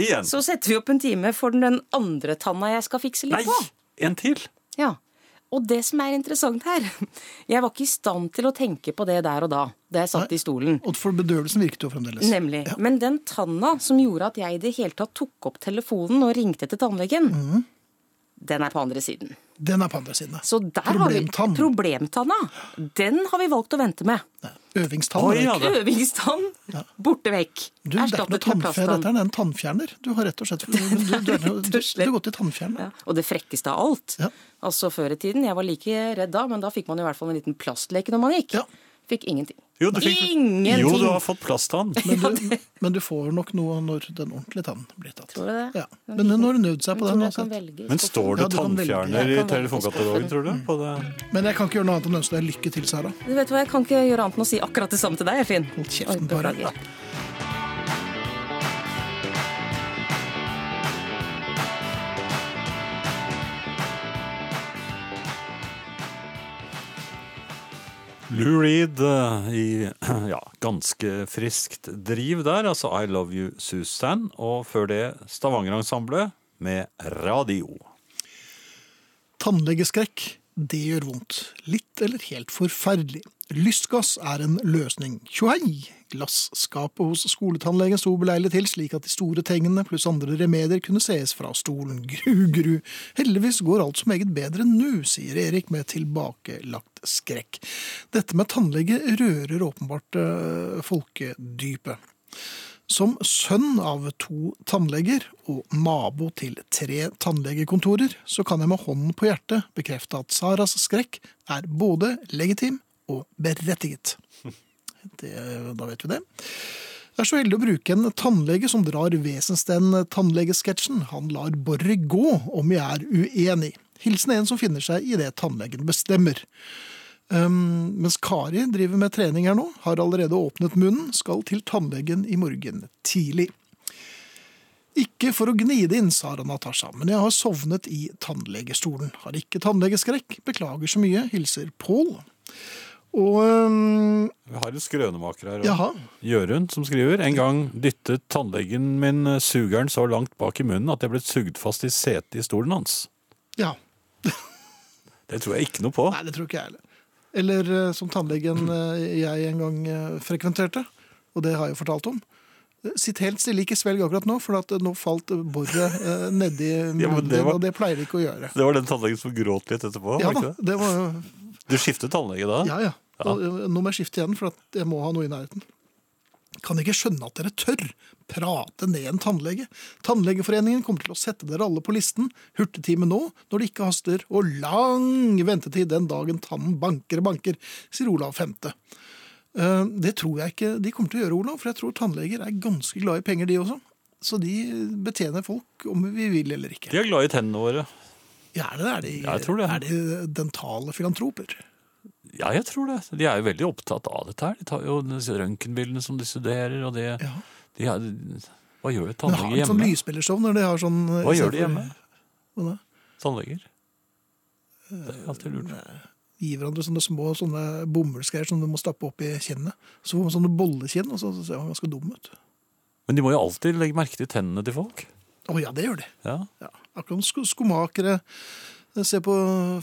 B: Igjen.
F: Så setter vi opp en time for den andre tanna jeg skal fikse
B: Nei,
F: litt på.
B: en til.
F: Ja. Og det som er interessant her, jeg var ikke i stand til å tenke på det der og da, da jeg satt i stolen.
A: Og for bedøvelsen virket jo fremdeles.
F: Nemlig. Men den tanna som gjorde at jeg i det hele tatt tok opp telefonen og ringte til tannlegen,
A: Mhm.
F: den er på andre siden.
A: Den er på andre siden.
F: Så der har
A: Problemtann.
F: vi problemtanna. Den har vi valgt å vente med.
A: Øvingstann.
B: Oi,
A: er det
B: ja,
A: ikke?
B: det-
F: Øvingstann borte vekk.
A: Du, det er ikke noe tannfe, dette er en tannfjerner. Du har rett og slett Du, du, du, du, du, du, du har gått til tannfjerner.
F: Ja, og det frekkeste av alt.
A: Ja.
F: Altså før i tiden, Jeg var like redd da, men da fikk man i hvert fall en liten plastleke når man gikk.
A: Ja.
F: Fikk ingenting.
B: Jo, du fikk,
F: Ingenting!
B: jo, du har fått plasttann.
A: Men du, men du får nok noe når den ordentlige tannen blir tatt.
F: Tror du det?
A: Ja. Men nå har hun øvd seg på
F: Tror
A: den.
F: du jeg
A: uansett.
F: kan velge i
B: Men
F: skuffen?
B: står
A: Ja,
B: det
A: du kan velge.
B: tannfjerner
F: Jeg
B: i
F: kan velge
B: telefonkatalogen,
F: skuffen.
B: tror du? På det?
A: Men jeg kan ikke gjøre noe annet enn å ønske deg lykke til, Sara.
F: Du vet hva, Jeg kan ikke gjøre annet enn å si akkurat det samme til deg, Finn.
A: Hold kjeften,
F: Oi,
A: bare.
F: beklager.
B: Lou Reed eh, i ja, ganske friskt driv der, altså I Love You Susan, og før det Stavanger-ensemblet med Radio.
A: Tannlegeskrekk, det gjør vondt. Litt eller helt forferdelig. Lystgass er en løsning. Tjohei! Glasskapet hos skoletannlegen sto beleilig til, slik at de store tengene pluss andre remedier kunne sees fra stolen. Gru, gru. Heldigvis går alt så meget bedre nå, sier Erik med tilbakelagt skrekk. Dette med tannlege rører åpenbart øh, eh, folkedypet. Som sønn av to tannleger og nabo til tre tannlegekontorer, så kan jeg med hånden på hjertet bekrefte at Saras skrekk er både legitim og berettiget. Det, da vet vi det. Jeg er så heldig å bruke en tannlege som drar vesensden tannlegesketsjen. Han lar boret gå om jeg er uenig. Hilsen en som finner seg i det tannlegen bestemmer. Um, mens Kari driver med trening her nå, har allerede åpnet munnen, skal til tannlegen i morgen tidlig. Ikke for å gnide inn, Sara Natasha, men jeg har sovnet i tannlegestolen. Har ikke tannlegeskrekk, beklager så mye, hilser Pål. Og um,
B: Vi har en skrønemaker her.
A: jaha,
B: Jørund som skriver En gang dyttet tannlegen min eh, sugeren så langt bak i munnen at jeg ble sugd fast i setet i stolen hans.
A: ja.
B: Det tror jeg ikke noe på.
A: Nei, det tror ikke jeg heller. Eller eh, som tannlegen eh, jeg en gang eh, frekventerte, og det har jeg jo fortalt om. Eh, Sitt helt stille, ikke svelg akkurat nå, for at eh, nå falt eh, boret eh, nedi munnen,
B: Ja, men det
A: din,
B: var-
A: og det pleier de ikke å gjøre.
B: Det var den tannlegen som gråt litt etterpå?
A: Ja
B: var
A: da,
B: ikke det?
A: det var jo
B: Du skiftet tannlege da?
A: Ja, ja. Og, eh, nå må jeg skifte igjen, for at jeg må ha noe i nærheten. Kan ikke skjønne at dere tør prate ned en tannlege. Tannlegeforeningen kommer til å sette dere alle på listen. Hurtigtime nå, når det ikke haster, og lang ventetid den dagen tannen banker og banker, sier Olav 5. Eh, Det tror jeg ikke de kommer til å gjøre, Olav, for jeg tror tannleger er ganske glad i penger, de også. Så de betjener folk om vi vil eller ikke.
B: De er glad i tennene våre.
A: Ja, er det, er de,
B: Ja, jeg tror det.
A: Er de dentale filantroper?
B: Ja, jeg tror det. De er jo veldig opptatt av dette her. De tar jo disse røntgenbildene som de studerer, og det
A: Ja.
B: de er, Hva gjør
A: Men har
B: tannleger
A: de sånn
B: hjemme?
A: lysbildershow når de har sånn
B: Hva gjør de hjemme?
A: Hva da? Eh,
B: Tannleger? Det er alltid lurt.
A: Gir hverandre sånne små sånne bomullsgreier som du må stappe opp i kinnet. Så får man sånne bollekinn, og så ser man ganske dum ut.
B: Men de må jo alltid legge merke til tennene til folk.
A: Å ja, det gjør de.
B: Ja.
A: Ja. Akkurat som sko skomakere eh, ser på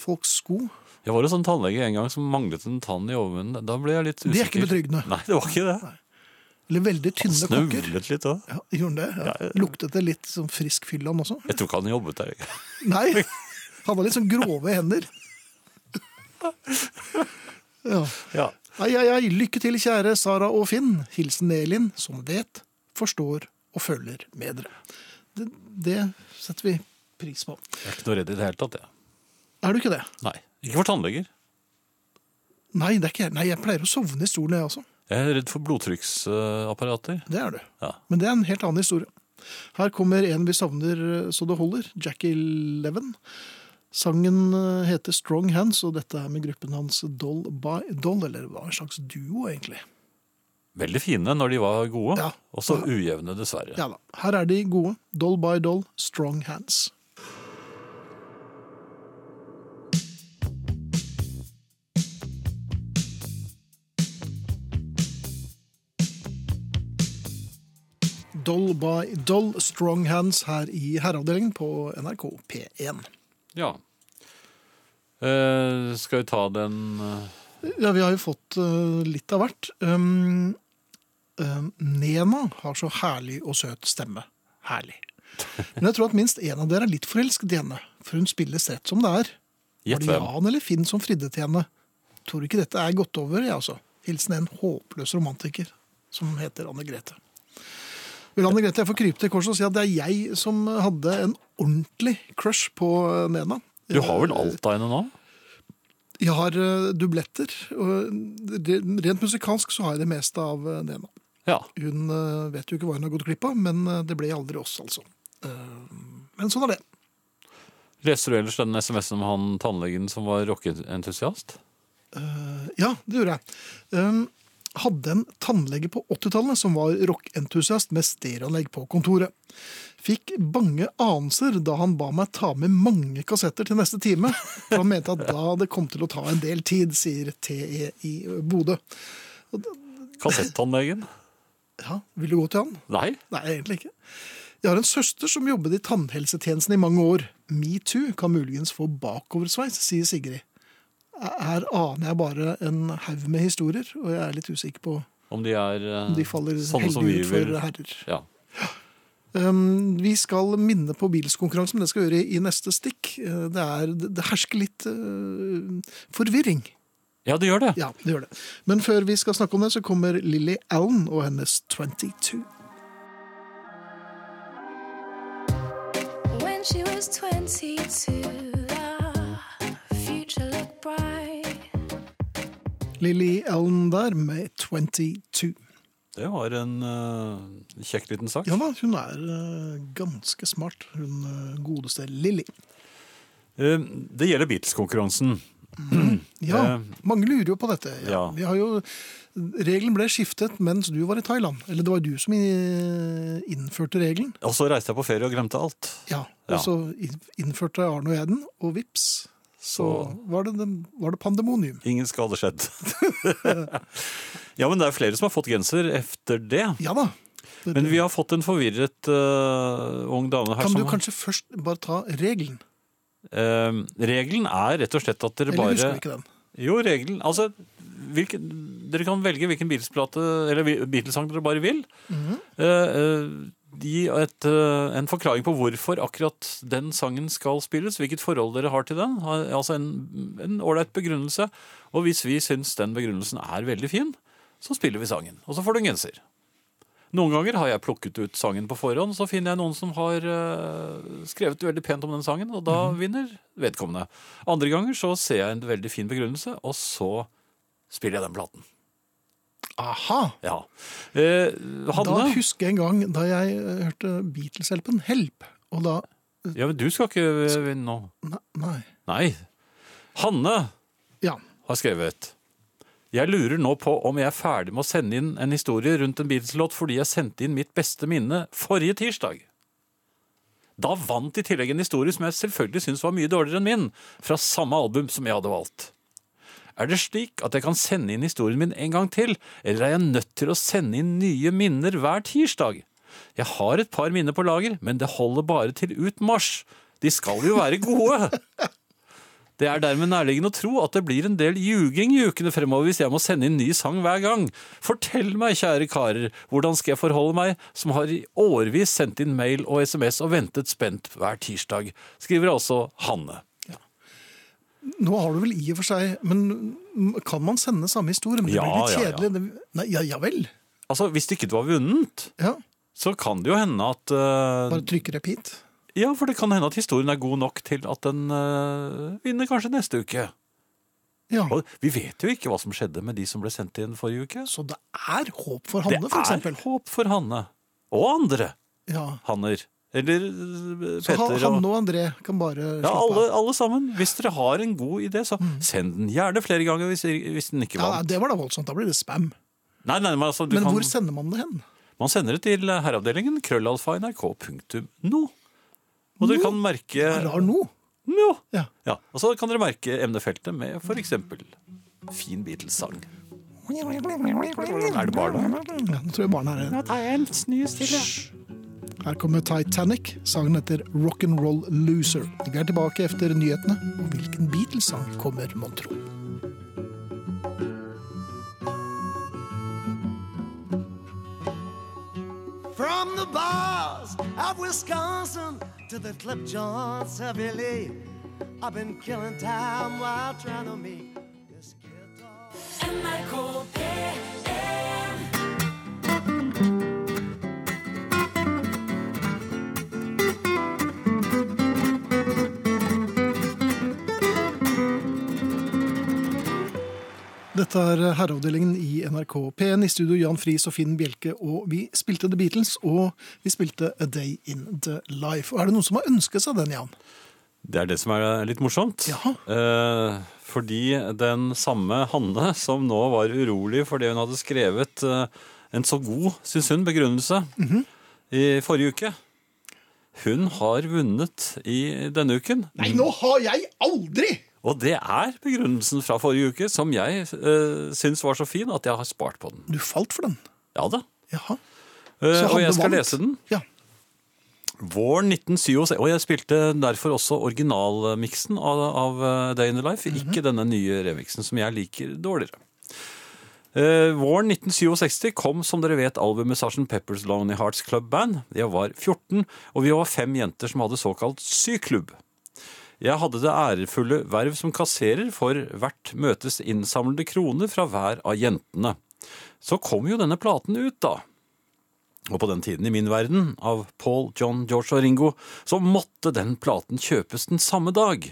A: folks sko.
B: Jeg var hos en tannlege en gang som manglet en tann i overmunnen. Da ble jeg litt usikker.
A: Det er ikke betryggende.
B: Nei, det var ikke det.
A: Eller veldig tynne kokker.
B: Snøvlet litt òg.
A: Ja, gjorde han det? Ja. Luktet det litt som frisk fyllan også?
B: Jeg tror ikke han jobbet der.
A: Nei. Han var litt sånn grove hender. Ja.
B: Ja.
A: Ai, ai, ai. Lykke til, kjære Sara og Finn. Hilsen Elin, som vet, forstår og føler med dere. Det, det setter vi pris på.
B: Jeg er ikke noe redd i det hele tatt, jeg.
A: Er du ikke det?
B: Nei. Ikke for tannleger.
A: Nei, det er ikke jeg. Nei, jeg pleier å sovne i stolen, jeg også.
B: Jeg er redd for blodtrykksapparater.
A: Det er du.
B: Ja.
A: Men det er en helt annen historie. Her kommer en vi savner eh, så det holder, Jackie Leven. Sangen eh, heter Strong Hands, og dette er med gruppen hans Doll by Doll, eller hva en slags duo, egentlig.
B: Veldig fine når de var gode,
A: Ja.
B: og så ujevne, dessverre.
A: Ja da, Her er de gode. Doll by Doll, Strong Hands. Doll by Doll, Strong Hands her i herreavdelingen på NRK P1.
B: Ja. Eh, skal vi ta den eh,
A: Ja, vi har jo fått eh, litt av hvert. Um, um, Nena har så herlig og søt stemme. Herlig. Men jeg tror at minst en av dere er litt forelsket i henne, for hun spilles rett som det er. Var
B: Gjett
A: det
B: hvem?
A: Jan eller Finn som fridde til henne? Tror ikke dette er gått over, jeg altså. Hilsen en håpløs romantiker som heter Anne Grete. Vel, Anne Grete, jeg får krype til korset og si at det er jeg som hadde en ordentlig crush på eh, Nena.
B: Du har vel alt av henne nå?
A: Jeg har eh, dubletter. Og det- rent musikalsk så har jeg det meste av eh, Nena.
B: Ja.
A: Hun eh, vet jo ikke hva hun har gått glipp av, men eh, det ble aldri oss, altså. Eh, Men sånn er det.
B: Leser du ellers den SMS-en om han tannlegen som var rockeentusiast?
A: Eh, Ja, det gjorde jeg. Um, Hadde en tannlege på 80-tallet som var rockentusiast med stereoanlegg på kontoret. Fikk bange anelser da han ba meg ta med mange kassetter til neste time. For han mente at da det kom til å ta en del tid, sier TE i Bodø.
B: Kassettannlegen?
A: Ja, vil du gå til han?
B: Nei?
A: Nei, egentlig ikke. Jeg har en søster som jobbet i tannhelsetjenesten i mange år. Metoo kan muligens få bakoversveis, sier Sigrid. Her aner jeg bare en haug med historier, og jeg er litt usikker på
B: Om de er eh,
A: om de faller
B: sånne som vi
A: heldig ut
B: vil
A: for herrer.
B: Ja.
A: Um, vi skal minne på bilskonkurransen, men det skal vi gjøre i neste stikk. Eh, Det, er, det hersker litt eh, forvirring.
B: ja, det gjør det.
A: Ja, det gjør det. Men før vi skal snakke om det, så kommer Lily Allen og hennes 22.
G: was 22. The future looked bright.
A: Lily Allen der med 22.
B: Det var en eh, kjekk liten sak.
A: Ja da, hun er eh, ganske smart, hun eh, godeste Lilly.
B: Eh, det gjelder Beatles-konkurransen.
A: Ja,
B: Eh.
A: mange lurer jo på dette. Ja.
B: Ja.
A: Vi har jo, regelen ble skiftet mens du var i Thailand. Eller det var du som i- innførte regelen.
B: Og så reiste jeg på ferie og glemte alt.
A: Ja, og
B: Ja.
A: så in- innførte Arne og jeg den, og vips, så var det, den- var det pandemonium.
B: Ingen skade skjedd. ja, men det er flere som har fått genser efter det.
A: Ja da.
B: Men vi har fått en forvirret eh, ung dame her
A: Kan
B: som
A: du kanskje først bare ta regelen?
B: Eh, regelen er rett og slett at dere
A: Eller
B: bare
A: husker du ikke den?
B: Jo, regelen Altså, hvilken, dere kan velge hvilken Beatles-plate eller hvil- Beatles-sang dere bare vil.
A: Mhm.
B: Eh, eh, gi et, eh, en forklaring på hvorfor akkurat den sangen skal spilles. Hvilket forhold dere har til den. Ha- Altså en en ålreit begrunnelse. Og hvis vi syns den begrunnelsen er veldig fin, så spiller vi sangen. Og så får du en genser. Noen ganger har jeg plukket ut sangen på forhånd, så finner jeg noen som har eh, skrevet veldig pent om den sangen, og da vinner vedkommende. Andre ganger så ser jeg en veldig fin begrunnelse, og så spiller jeg den platen.
A: Aha!
B: Ja. Eh,
A: Da
B: Hanne,
A: husker jeg en gang da jeg eh, hørte Beatles-hjelpen Help, og da
B: ja, men du skal ikke eh, vinne nå.
A: ne- Nei.
B: Nei. Hanne
A: Ja.
B: har skrevet Jeg lurer nå på om jeg er ferdig med å sende inn en historie rundt en Beatles-låt fordi jeg sendte inn mitt beste minne forrige tirsdag. Da vant i tillegg en historie som jeg selvfølgelig syns var mye dårligere enn min, fra samme album som jeg hadde valgt. Er det slik at jeg kan sende inn historien min en gang til, eller er jeg nødt til å sende inn nye minner hver tirsdag? Jeg har et par minner på lager, men det holder bare til ut mars. De skal jo være gode! Det er dermed nærliggende å tro at det blir en del ljuging i ukene fremover hvis jeg må sende inn ny sang hver gang. Fortell meg, kjære karer, hvordan skal jeg forholde meg, som har i årevis sendt inn mail og SMS og ventet spent hver tirsdag, skriver altså Hanne.
A: Nå har du vel i og for seg Men mm, kan man sende samme historie? Men det
B: Ja,
A: blir litt
B: ja, ja.
A: kjedelig. Det- Nei, ja, ja vel.
B: Altså, hvis ikke du har vunnet,
A: Ja.
B: så kan det jo hende at eh,
A: Bare trykke repeat.
B: Ja, for det kan hende at historien er god nok til at den eh, vinner kanskje neste uke.
A: Ja.
B: Og vi vet jo ikke hva som skjedde med de som ble sendt inn forrige uke.
A: Så det er håp for
B: Det
A: Hanne, for
B: er
A: eksempel.
B: håp for Hanne. Og andre
A: Ja.
B: Hanner. Eller eh,
A: Så
B: Petter
A: Han-
B: og
A: Hanne og André kan bare
B: ja,
A: slappe av.
B: alle,
A: Mm.
B: alle sammen. Hvis dere har en god idé, så send den gjerne flere ganger hvis, hvis den ikke
A: Ja, nei,
B: vant.
A: det var da voldsomt. Da blir det spam.
B: Nei, nei, men altså, du
A: Men
B: kan,
A: hvor sender man det hen?
B: man sender det til herreavdelingen krøllalfa.nrk.no. Og dere kan merke
A: Rar nå.
B: Nå.
A: Ja.
B: Ja, og så kan dere merke emnefeltet med for eksempel fin Beatles-sang. Er det barna?
A: Ja, nå tror jeg barna er her.
B: tar jeg en snus til,
A: Her kommer Titanic. Sangen heter Rock'n'Roll Loser. Vi er tilbake etter nyhetene. Og hvilken Beatles-sang kommer, mon tro?
E: From the bars of Wisconsin to the clip joints of LA, I've been killing time while trying to make this guitar.
A: Dette er Herreavdelingen i NRK P1. I studio Jan Friis og Finn Bjelke. Og vi spilte The Beatles, og vi spilte A Day In The Life. Og er det noen som har ønsket seg den, Jan?
B: Det er det som er litt morsomt.
A: Jaha.
B: Eh, fordi den samme Hanne som nå var urolig fordi hun hadde skrevet eh, en så god, syns hun, begrunnelse
A: Mhm.
B: i forrige uke, hun har vunnet i denne uken.
A: Nei, nå har jeg aldri!
B: Og det er begrunnelsen fra forrige uke som jeg uh, syns var så fin at jeg har spart på den.
A: Du falt for den.
B: Ja da.
A: Jaha.
B: Eh,
A: Så
B: og
A: han
B: jeg skal
A: vant.
B: lese den.
A: Ja.
B: Våren 1977, og jeg spilte derfor også originalmiksen av, av eh, Day in the Life, ikke denne nye remixen som jeg liker dårligere. Eh, våren 1967 kom, som dere vet, albumet Sgt. Peppers Lonely Hearts Club Band. Jeg var 14, og vi var fem jenter som hadde såkalt syklubb. Jeg hadde det ærefulle verv som kasserer for hvert møtes innsamlede kroner fra hver av jentene. Så kom jo denne platen ut, da. Og på den tiden i min verden, av Paul, John, George og Ringo, så måtte den platen kjøpes den samme dag.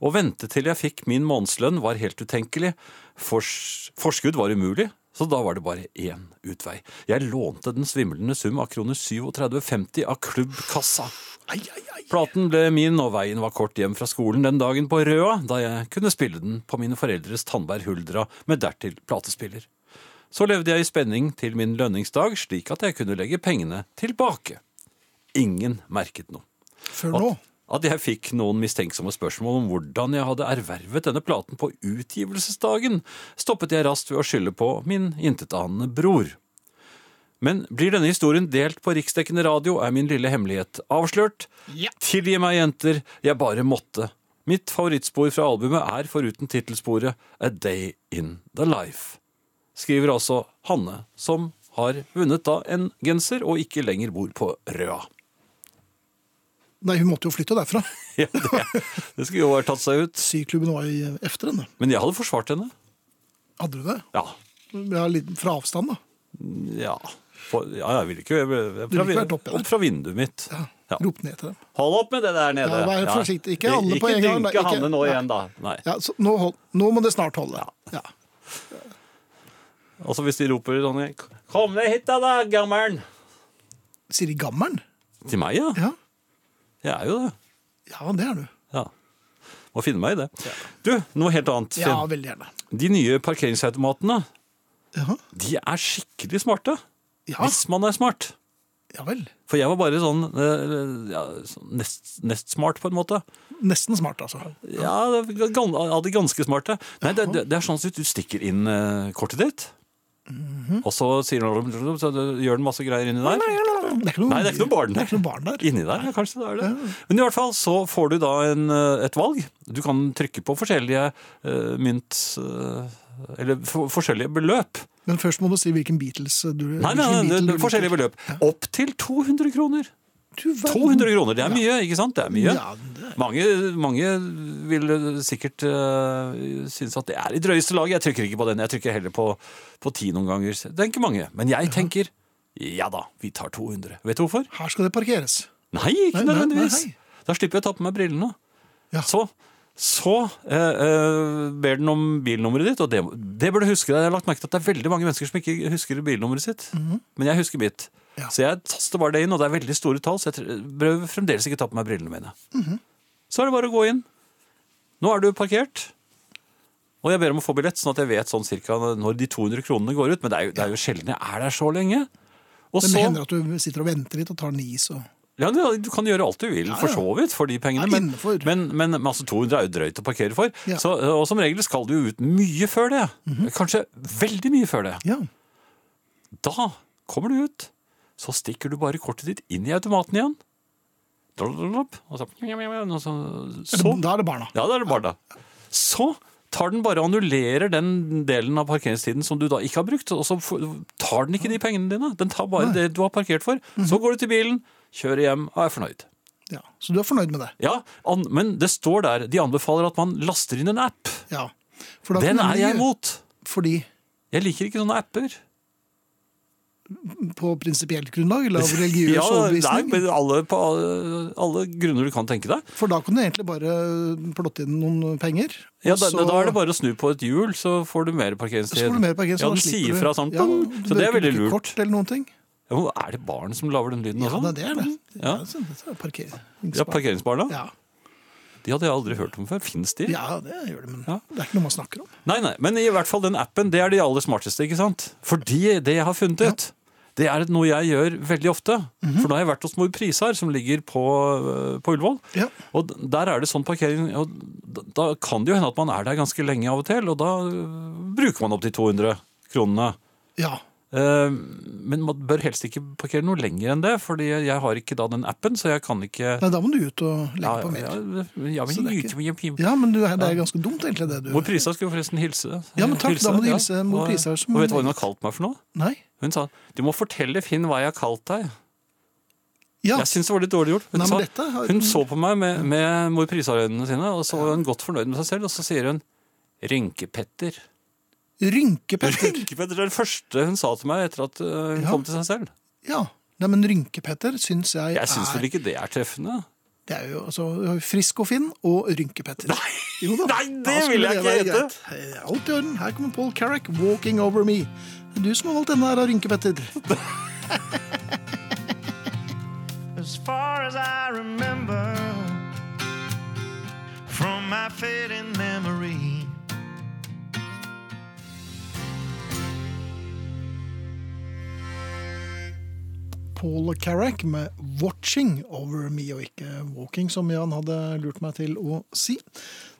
B: Å vente til jeg fikk min månedslønn var helt utenkelig. Fors forskudd var umulig, så da var det bare én utvei. Jeg lånte den svimlende sum av kroner 37,50 av klubbkassa.
A: Ai, ai, ai.
B: Platen ble min, og veien var kort hjem fra skolen den dagen på Røa, da jeg kunne spille den på mine foreldres Tandberg Huldra med dertil platespiller. Så levde jeg i spenning til min lønningsdag, slik at jeg kunne legge pengene tilbake. Ingen merket noe.
A: Før nå.
B: At, at jeg fikk noen mistenksomme spørsmål om hvordan jeg hadde ervervet denne platen på utgivelsesdagen, stoppet jeg raskt ved å skylde på min intetanende bror. Men blir denne historien delt på riksdekkende radio, er min lille hemmelighet avslørt. Tilgi meg, jenter, jeg bare måtte. Mitt favorittspor fra albumet er, foruten tittelsporet, A Day In The Life. Skriver altså Hanne, som har vunnet da en genser og ikke lenger bor på Røa.
A: Nei, hun måtte jo flytte derfra.
B: Ja, det, det skulle jo vært tatt seg ut.
A: Syklubben var i efter henne.
B: Men jeg hadde forsvart henne.
A: Hadde du det?
B: Ja.
A: Ja, litt fra avstand, da.
B: Ja, For, ja jeg ville ikke jeg, ville-
A: ville ikke vært oppe, eller?
B: opp fra vinduet mitt. Ja.
A: Ropt ned til dem.
B: Hold opp med det der nede.
A: Ja, vær forsiktig. Ikke alle på en gang, da. Ikke-
B: Ikke dynke Hanne nå
A: Nei.
B: igjen, da. Nei.
A: Ja, så nå, hold, nå må det snart holde. Ja.
B: Altså hvis de roper sånn Kom deg hit da, da, gammelen!
A: Sier de gammelen?
B: Til meg, ja.
A: Ja.
B: Jeg er jo det.
A: ja, det er du.
B: Ja. Må finne meg i det. Du, noe helt annet. Finn.
A: Ja, veldig gjerne.
B: De nye parkeringsautomatene,
A: Ja,
B: de er skikkelig smarte.
A: ja,
B: Hvis man er smart.
A: ja vel.
B: For jeg var bare sånn, eh, ja, sånn nest, nest smart, på en måte.
A: Nesten smart, altså.
B: Ja, det er gan- av de ganske smarte. Nei, det, det, det er sånn at du stikker inn eh, kortet ditt,
A: Mhm.
B: og så sier den så gjør den masse greier inni der.
A: Det er ikke noe,
B: Nei, det er ikke noe barn
A: Det
B: der.
A: er ikke noe barn der.
B: Inni der, ja, kanskje det er det. Men i hvert fall så får du da en, eh, et valg. Du kan trykke på forskjellige eh, mynt... eh, eller for, forskjellige beløp.
A: Men først må du si hvilken Beatles eh, du
B: Nei, nei, nei, det- det- forskjellige beløp. Opp til 200 kroner.
A: Du verden.
B: 200 kroner, det er mye, ikke sant? Det er mye.
A: Ja, det er-
B: Mange, mange vil sikkert øh, synes at det er i drøyeste laget. Jeg trykker ikke på den, jeg trykker heller på, på ti noen ganger. Det er ikke mange, men jeg tenker ja da, vi tar 200. Vet du hvorfor?
A: Her skal det parkeres.
B: Nei, ikke
A: Nei, nei,
B: nødvendigvis.
A: nei.
B: Da slipper jeg å ta på meg brillene.
A: Ja.
B: Så, så eh, eh, ber den om bilnummeret ditt, og det, det bør du huske. Jeg har lagt merke til at det er veldig mange mennesker som ikke husker bilnummeret sitt. Men jeg husker mitt.
A: Mhm. Ja.
B: Så jeg taster bare det inn, og det er veldig store tall, så jeg tr- prøver fremdeles ikke å ta på meg brillene mine.
A: Mhm.
B: Så er det bare å gå inn. Nå er du parkert. Og jeg ber om å få billett, sånn at jeg vet sånn cirka når de 200 kronene går ut. Men det er jo, det er jo sjelden jeg er der så lenge. Og
A: Det
B: så-
A: hender at du sitter og venter litt og tar en is og
B: ja, du, du kan gjøre alt du vil, for så vidt, for de pengene.
A: Nei,
B: Men,
A: innenfor.
B: men, men altså, 200 er jo drøyt å parkere for.
A: Ja. Mhm.
B: Så, og som regel skal du jo ut mye før det. Kanskje veldig mye før det.
A: Ja.
B: Da kommer du ut, så stikker du bare kortet ditt inn i automaten igjen. Drop, og så, og så, så
A: Da er det barna.
B: ja, det er det bare da. Så tar den bare og annullerer den delen av parkeringstiden som du da ikke har brukt, og så f- tar den ikke de pengene dine. Den tar bare det du har parkert for.
A: Mhm.
B: Så går du til bilen, kjører hjem og er fornøyd.
A: Ja. Så du er fornøyd med det?
B: Ja, an, men det står der, de anbefaler at man laster inn en app.
A: Ja. For da
B: Den
A: kan
B: er
A: nemlig-
B: jeg imot.
A: Fordi
B: Jeg liker ikke sånne apper.
A: på prinsipielt grunnlag, eller av religiøs
B: Ja, nei,
A: overbevisning.
B: men alle, på alle- alle grunner du kan tenke deg.
A: For da kan du egentlig bare eh, plotte inn noen penger.
B: Ja,
A: og
B: da,
A: så-
B: da er det bare å snu på et hjul, så får du mer parkeringstid.
A: Så får du mer parkering, så
B: ja,
A: da
B: den
A: slipper
B: sier
A: du-
B: fra sånn,
A: Ja,
B: pong,
A: du
B: så det er
A: bruker
B: veldig
A: ikke
B: lurt.
A: Kort eller noen ting.
B: Ja, men er det barn som lager den lyden
A: Ja,
B: også?
A: det er det.
B: Ja.
A: Ja, så- så er det parkeringsbar-
B: Ja, parkeringsbarna?
A: Ja.
B: De hadde jeg aldri hørt om før. Fins de?
A: ja, det gjør det, men
B: Ja.
A: det er ikke noe man snakker om.
B: Nei, nei, men i hvert fall den appen, det er de aller smarteste, ikke sant? Fordi det jeg har funnet ut, det er noe jeg gjør veldig ofte.
A: Mhm.
B: For nå har jeg vært hos Mor Prisar, som ligger på, øh, på Ullevål.
A: Ja.
B: Og d- der er det sånn parkering, og d- da kan det jo hende at man er der ganske lenge av og til, og da øh, bruker man opp de 200 kronene.
A: Ja.
B: Eh, Men man bør helst ikke parkere noe lenger enn det, fordi jeg har ikke da den appen, så jeg kan ikke...
A: Nei, da må du ut og legge
B: Ja,
A: på mer.
B: ja, ja,
A: Så det er ikke-
B: men-
A: Ja, men du, det er ganske dumt egentlig det du
B: Mor Prisar skulle forresten hilse.
A: Ja, men takk, da må du
B: ja.
A: hilse Mor
B: Og-
A: Prisar som-
B: Og vet du hva hun har kalt meg for noe?
A: Nei.
B: Hun sa du må fortelle Finn hva jeg har kalt deg.
A: Ja,
B: Jeg syns det var litt dårlig gjort. Hun,
A: Nei, men
B: sa,
A: dette har-
B: hun så på meg med, med mor Prisar-øynene sine, og så var hun godt fornøyd med seg selv, og så sier hun Rynkepetter.
A: Rynkepetter.
B: Rynkepetter er det første hun sa til meg etter at øh, hun
A: Ja.
B: kom til seg selv.
A: Ja. Nei, men Rynkepetter syns jeg,
B: Jeg syns
A: er
B: vel ikke det er treffende.
A: Det er jo altså, vi har jo Frisk og Finn og Rynkepetter. Nei, jo da.
B: Nei, det
A: Da skulle
B: vil
A: det
B: jeg ikke
A: være greit. Alt i orden. Her kommer Paul Carrick, 'Walking Over Me'. Det er Du som har valgt denne her, Rynkepetter.
E: as far as I remember from my fading memory.
A: Paul Carrack med 'Watching Over Me', og ikke 'Walking', som Jan hadde lurt meg til å si.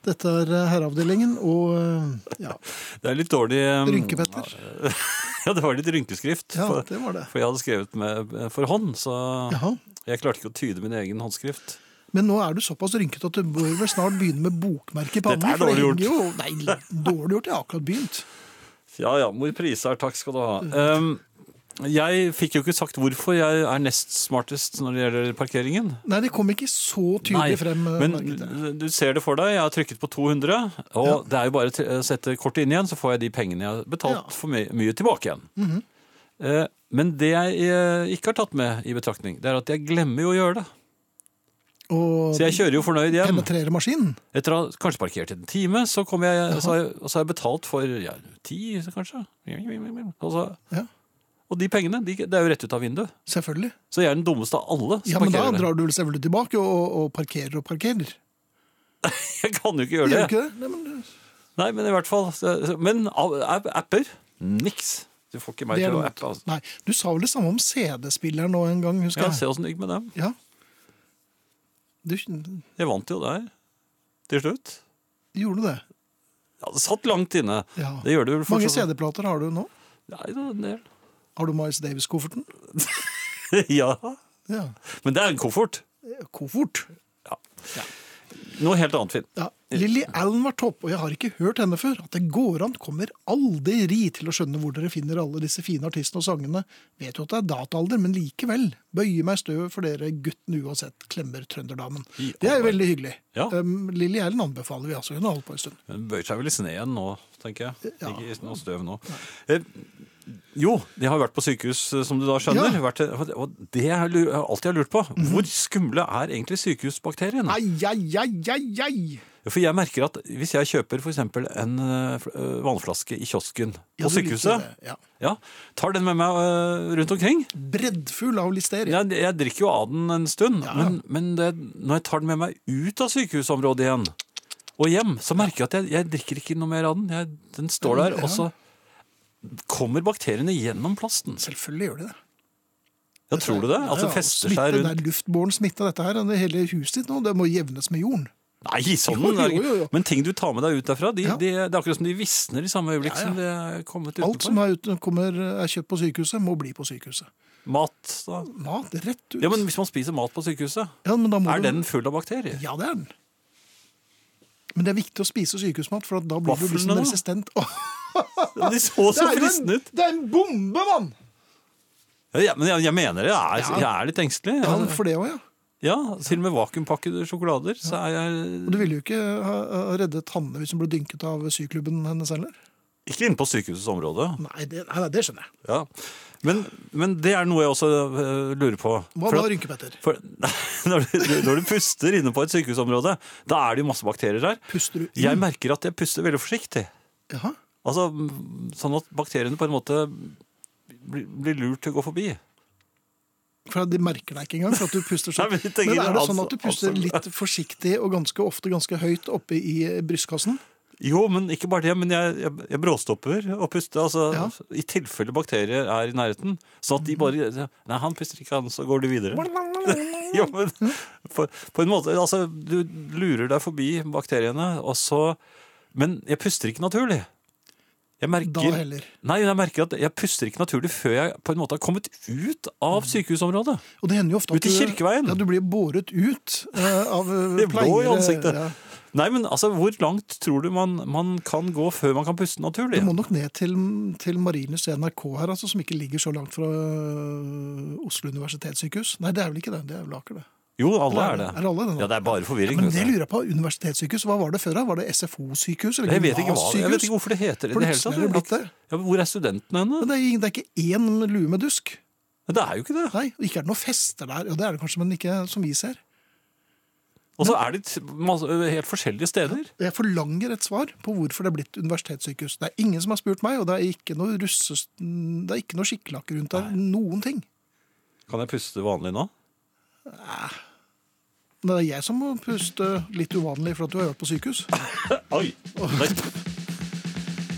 A: Dette er eh, Herreavdelingen, og eh, ja,
B: Det er litt dårlig um,
A: Rynkepetter.
B: Ja, det var litt rynkeskrift.
A: Ja,
B: for-
A: det var det.
B: For jeg hadde skrevet med for hånd, så
A: Jaha.
B: jeg klarte ikke å tyde min egen håndskrift.
A: Men nå er du såpass rynkete at du bør vel snart begynne med bokmerke i pannen.
B: Dette er
A: for det henger
B: dårlig
A: Jo, nei, dårlig gjort. Jeg har akkurat begynt.
B: Ja ja, mor priser, takk skal du ha. Um, jeg fikk jo ikke sagt hvorfor jeg er nest smartest når det gjelder parkeringen.
A: Nei, det kom ikke så
B: Nei,
A: tydelig frem. eh,
B: men
A: merket jeg.
B: du ser det for deg. Jeg har trykket på 200, og det er jo bare til- å sette kortet inn igjen, så får jeg de pengene jeg har betalt
A: Ja. Mhm.
B: for my mye tilbake igjen. Eh, men det jeg eh, ikke har tatt med i betraktning, det er at jeg glemmer jo å gjøre det.
A: Og
B: Så jeg kjører jo fornøyd hjem.
A: penetrere maskinen.
B: Etter å ha kanskje parkert en time, så kommer jeg, og så har jeg, og så har jeg betalt for ja, ti, kanskje. Og, så,
A: Ja,
B: og de pengene, de, det er jo rett ut av vinduet.
A: selvfølgelig.
B: Så jeg er den dummeste av alle som
A: Ja, Men da
B: parkerer.
A: drar du vel selvfølgelig tilbake og- og, og parkerer og parkerer.
B: Jeg kan jo ikke gjøre
A: Gjør du
B: det.
A: ikke det? Nei, men,
B: Nei, men i hvert fall så- så- Men av- app- apper? Niks. Du får ikke meg
A: det er
B: til å
A: dumt.
B: appe. Altså.
A: Nei, du sa vel det samme om CD-spilleren nå en gang, husker
B: Ja,
A: jeg.
B: se åssen det gikk med dem.
A: Ja. Du
B: Jeg vant jo der. Til slutt.
A: gjorde det.
B: Ja, det satt langt inne.
A: Ja.
B: Det gjør det vel
A: Mange
B: fortsatt.
A: CD-plater har du nå?
B: Nei, det er en del.
A: Har du Miles Davis-kofferten?
B: ja.
A: Ja. Eh,
B: Men det er en koffert.
A: Koffert?
B: Noe helt annet, Finn.
A: Ja. Lilly Allen var topp, og jeg har ikke hørt henne før. At det går an, kommer aldri til å skjønne hvor dere finner alle disse fine artistene og sangene. Vet jo at det er dataalder, men likevel. Bøyer meg i støvet for dere guttene uansett, klemmer trønderdamen.
B: I
A: Det er jo
B: all
A: veldig hyggelig.
B: Ja.
A: Um, Lilly Allen anbefaler vi altså. Hun har holdt på en stund.
B: Den bøyer seg vel i sneen nå, tenker jeg.
A: Ja.
B: Ikke i noe støv nå. Eh, jo, de har vært på sykehus, eh, som du da skjønner.
A: Ja. Mhm.
B: Vært, eh, og det jeg har lu- jeg alltid har lurt på, hvor skumle er egentlig sykehusbakterien?
A: Ai, ai, ai, ai, ai!
B: For jeg merker at hvis jeg kjøper for eksempel en eh, fl- eh, vannflaske i kiosken
A: Ja,
B: på
A: du liker
B: sykehuset,
A: det, ja.
B: ja, tar den med meg eh, rundt omkring.
A: Breddfull av listeria.
B: Jeg, jeg drikker jo av den en stund, men, men det, når jeg tar den med meg ut av sykehusområdet igjen og hjem, så merker jeg at jeg, jeg drikker ikke noe mer av den. Jeg, den står der,
A: Ja.
B: og så kommer bakteriene gjennom plasten.
A: Selvfølgelig gjør de det.
B: Ja, tror du det? At det
A: Ja,
B: fester
A: smitte,
B: seg
A: Det
B: rundt
A: er luftbåren smitte, dette her. Det hele huset ditt nå, det må jevnes med jorden.
B: Nei, sånn!
A: Jo, jo,
B: er det ikke.
A: jo, jo.
B: Men ting du tar med deg ut derfra, de,
A: Ja.
B: de, det er akkurat som de visner i samme øyeblikk som det er kommet utenfor.
A: Alt som er, ute, kommer, er kjøpt på sykehuset, må bli på sykehuset.
B: Mat, da.
A: Mat rett ut.
B: Ja, men Hvis man spiser mat på sykehuset,
A: Ja, men da må
B: er
A: du-
B: den full av bakterier?
A: Ja, det er den. Men det er viktig å spise sykehusmat, for da blir du
B: Vaflene,
A: liksom
B: da?
A: resistent. Åh,
B: De så så
A: jo en,
B: fristende ut!
A: det er en bombe, mann!
B: Ja, Ja, men jeg, jeg mener det. Jeg er,
A: Ja.
B: jeg er litt engstelig. Altså,
A: Ja,
B: Ja,
A: for det òg, ja.
B: Til og med vakuumpakkede sjokolader, så er jeg
A: Og du ville jo ikke ha, ha reddet Hanne hvis hun ble dynket av syklubben hennes heller.
B: ikke inne på sykehusets område.
A: Nei, det, nei, nei, det skjønner jeg.
B: Ja. Men, men det er noe jeg også øh, lurer på.
A: Hva
B: For
A: var
B: at-
A: rynkepetter?
B: For, når, du, når du puster inne på et sykehusområde, da er det jo masse bakterier der.
A: Puster du inn?
B: Jeg merker at jeg puster veldig forsiktig.
A: Jaha.
B: Altså, Sånn at bakteriene på en måte blir, blir lurt til å gå forbi.
A: For De merker deg ikke engang for at du puster sånn.
B: Nei, men jeg
A: men,
B: tenker
A: er det
B: det,
A: sånn
B: altså-
A: at du puster
B: altså-
A: litt forsiktig og ganske ofte ganske høyt oppe i eh, brystkassen?
B: Jo, men ikke bare det, men jeg, jeg, jeg bråstopper og puster. Altså,
A: Ja. Mm.
B: I tilfelle bakterier er i nærheten. Sånn at de bare Nei, han puster ikke, han, så går de videre. jo, men på, på en måte Altså, du lurer deg forbi bakteriene, og så Men jeg puster ikke naturlig. Jeg merker,
A: Da heller.
B: Nei, jeg merker at jeg puster ikke naturlig før jeg på en måte har kommet ut
A: Mm.
B: av sykehusområdet.
A: Og det hender jo ofte at
B: Ut i
A: du-
B: Kirkeveien.
A: Ja, du blir båret ut eh, av eh,
B: Det er blå i
A: pleiere.
B: ansiktet.
A: Ja.
B: Nei, men altså, hvor langt tror du man, man kan gå før man kan puste naturlig?
A: Du må nok ned til, til Marienlyst i NRK her, altså, som ikke ligger så langt fra eh, Oslo universitetssykehus. Nei, det er vel ikke det. Det er vel Aker, det.
B: Jo, alle
A: Eller
B: er det.
A: er det alle det nå?
B: Ja, det er bare forvirring.
A: Men
B: vet
A: det
B: du.
A: lurer jeg på. Universitetssykehus, hva var det før? da? Var det SFO-sykehus? eller
B: Jeg vet, ikke hva, jeg vet
A: gymnassykehus?
B: ikke hvorfor det heter det i det hele tatt.
A: Plutselig er det blitt det.
B: Ja, men hvor er studentene henne?
A: Men det er, ing- det er ikke én lue med dusk.
B: Men det er jo ikke det.
A: Nei, og ikke er det noen fester der. Jo, det er det kanskje, men ikke som vi ser.
B: Og så er det t- masse- helt forskjellige steder.
A: Jeg forlanger et svar på hvorfor det er blitt universitetssykehus. Det er ingen som har spurt meg, og det er ikke noe, russes, det er ikke noe skikkelakke rundt der. Noen ting.
B: Kan jeg puste vanlig nå?
A: Men det er jeg som må puste litt uvanlig for at du har vært på sykehus.
B: Oi! Nei.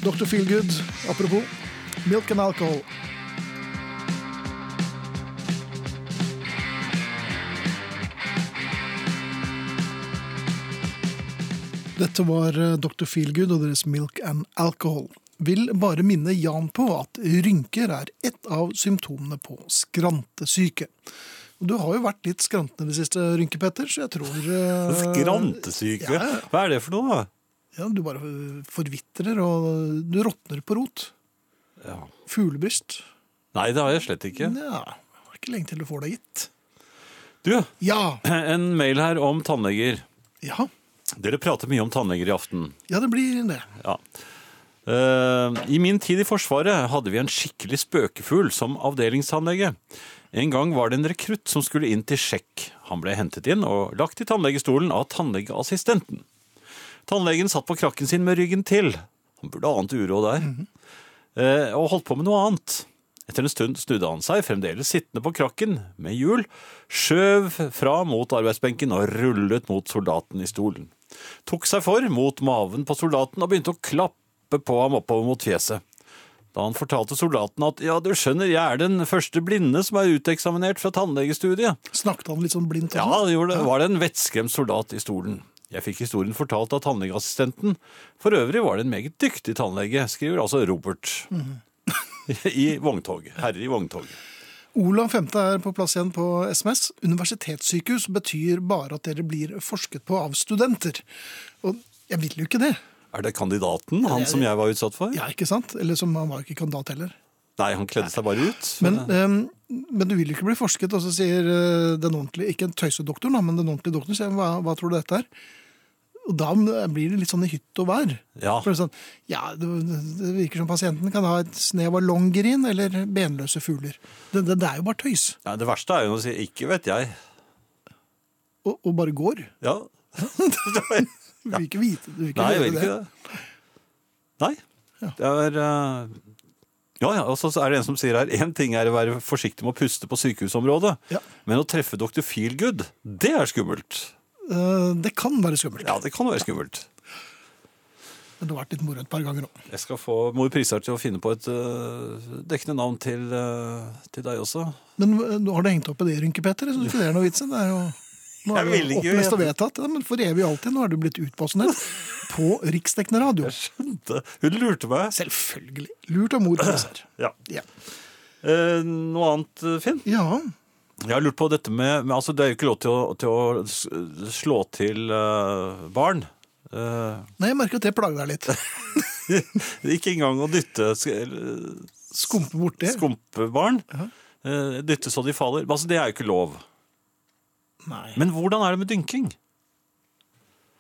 A: Dr. Feelgood, apropos. Milk and alcohol. Dette var eh, Dr. Feelgood og deres Milk and Alcohol. Vil bare minne Jan på at rynker er ett av symptomene på skrantesyke. Og Du har jo vært litt skrantende det siste, Rynke Petter, så jeg tror eh,
B: Skrantesyke.
A: ja, ja.
B: Hva er det for noe? da?
A: Ja, du bare eh, forvitrer, og du råtner på rot.
B: Ja.
A: Fuglebryst?
B: Nei, det har jeg slett ikke.
A: Nja, det er ikke lenge til du får det gitt.
B: Du,
A: Ja.
B: en mail her om tannleger.
A: ja.
B: Dere prater mye om tannleger i aften.
A: Ja, det blir det.
B: Ja. Eh, I min tid i Forsvaret hadde vi en skikkelig spøkefugl som avdelingstannlege. En gang var det en rekrutt som skulle inn til sjekk. Han ble hentet inn og lagt i tannlegestolen av tannlegeassistenten. Tannlegen satt på krakken sin med ryggen til. Han burde ha annet uro der. Eh, og holdt på med noe annet. Etter en stund snudde han seg, fremdeles sittende på krakken, med hjul, skjøv fra mot arbeidsbenken og rullet mot soldaten i stolen tok seg for mot maven på soldaten og begynte å klappe på ham oppover mot fjeset. Da han fortalte soldaten at ja, du skjønner, jeg er den første blinde som er uteksaminert fra tannlegestudiet.
A: Snakket han litt sånn blindt?
B: Ja,
A: også?
B: det gjorde det. var det en vettskremt soldat i stolen. Jeg fikk historien fortalt av tannlegeassistenten. For øvrig var det en meget dyktig tannlege, skriver altså Robert. I vogntoget. Herre i vogntoget.
A: Olav 5. er på plass igjen på SMS. Universitetssykehus betyr bare at dere blir forsket på av studenter. Og jeg vil jo ikke det.
B: Er det kandidaten, han som jeg var utsatt for?
A: Ja, ikke sant? Eller som han var jo ikke kandidat heller.
B: Nei, han kledde seg bare ut.
A: Men,
B: eh,
A: ehm, men du vil jo ikke bli forsket, og så sier eh, den ordentlige, ikke en tøysedoktor, da, men den ordentlige doktoren sier hva, hva tror du dette er? Og da blir det litt sånn i hytt og vær.
B: Ja.
A: For det, er sånn, ja, det, det virker som pasienten kan ha et snev av longerin eller benløse fugler. Det, det, det er jo bare tøys,
B: Nei, det verste er jo å si 'ikke vet jeg'.
A: og, og bare går.
B: Ja,
A: Du vil ikke vite du vil ikke
B: Nei, jeg
A: vite
B: vet ikke det. Nei. Det er eh, Ja ja, og så så er det en som sier her én ting er å være forsiktig med å puste på sykehusområdet,
A: Ja.
B: men å treffe dr. Feelgood, det er skummelt.
A: Eh, det kan være skummelt.
B: Ja, det kan være skummelt.
A: Men det har vært litt moro et par ganger òg.
B: Jeg skal få Mor Prisar til å finne på et eh, dekkende navn til, eh, til deg også.
A: Men eh, nå har du hengt opp i det, Rynke Petter? Jeg syns ikke det er noe vits. i. Det er jo nå er
B: Jeg
A: det
B: vil ikke
A: opplest og
B: vite.
A: vedtatt. Ja, men for evig og alltid. Nå er du blitt utbasonert på riksdekkende radio.
B: Skjønte. Hun lurte meg.
A: Selvfølgelig. Lurt av mor. Prisar.
B: Ja.
A: Ja.
B: Eh, noe annet, eh, Finn?
A: ja.
B: Jeg har lurt på dette med, med altså Det er jo ikke lov til å, til å s- slå til eh, barn. Eh,
A: Nei, jeg merker at det plager deg litt.
B: Ikke engang å dytte sk- eller
A: Skumpe borti.
B: skumpebarn. Eh, Dytte så de faller. Altså, det er jo ikke lov.
A: Nei.
B: Men hvordan er det med dynking?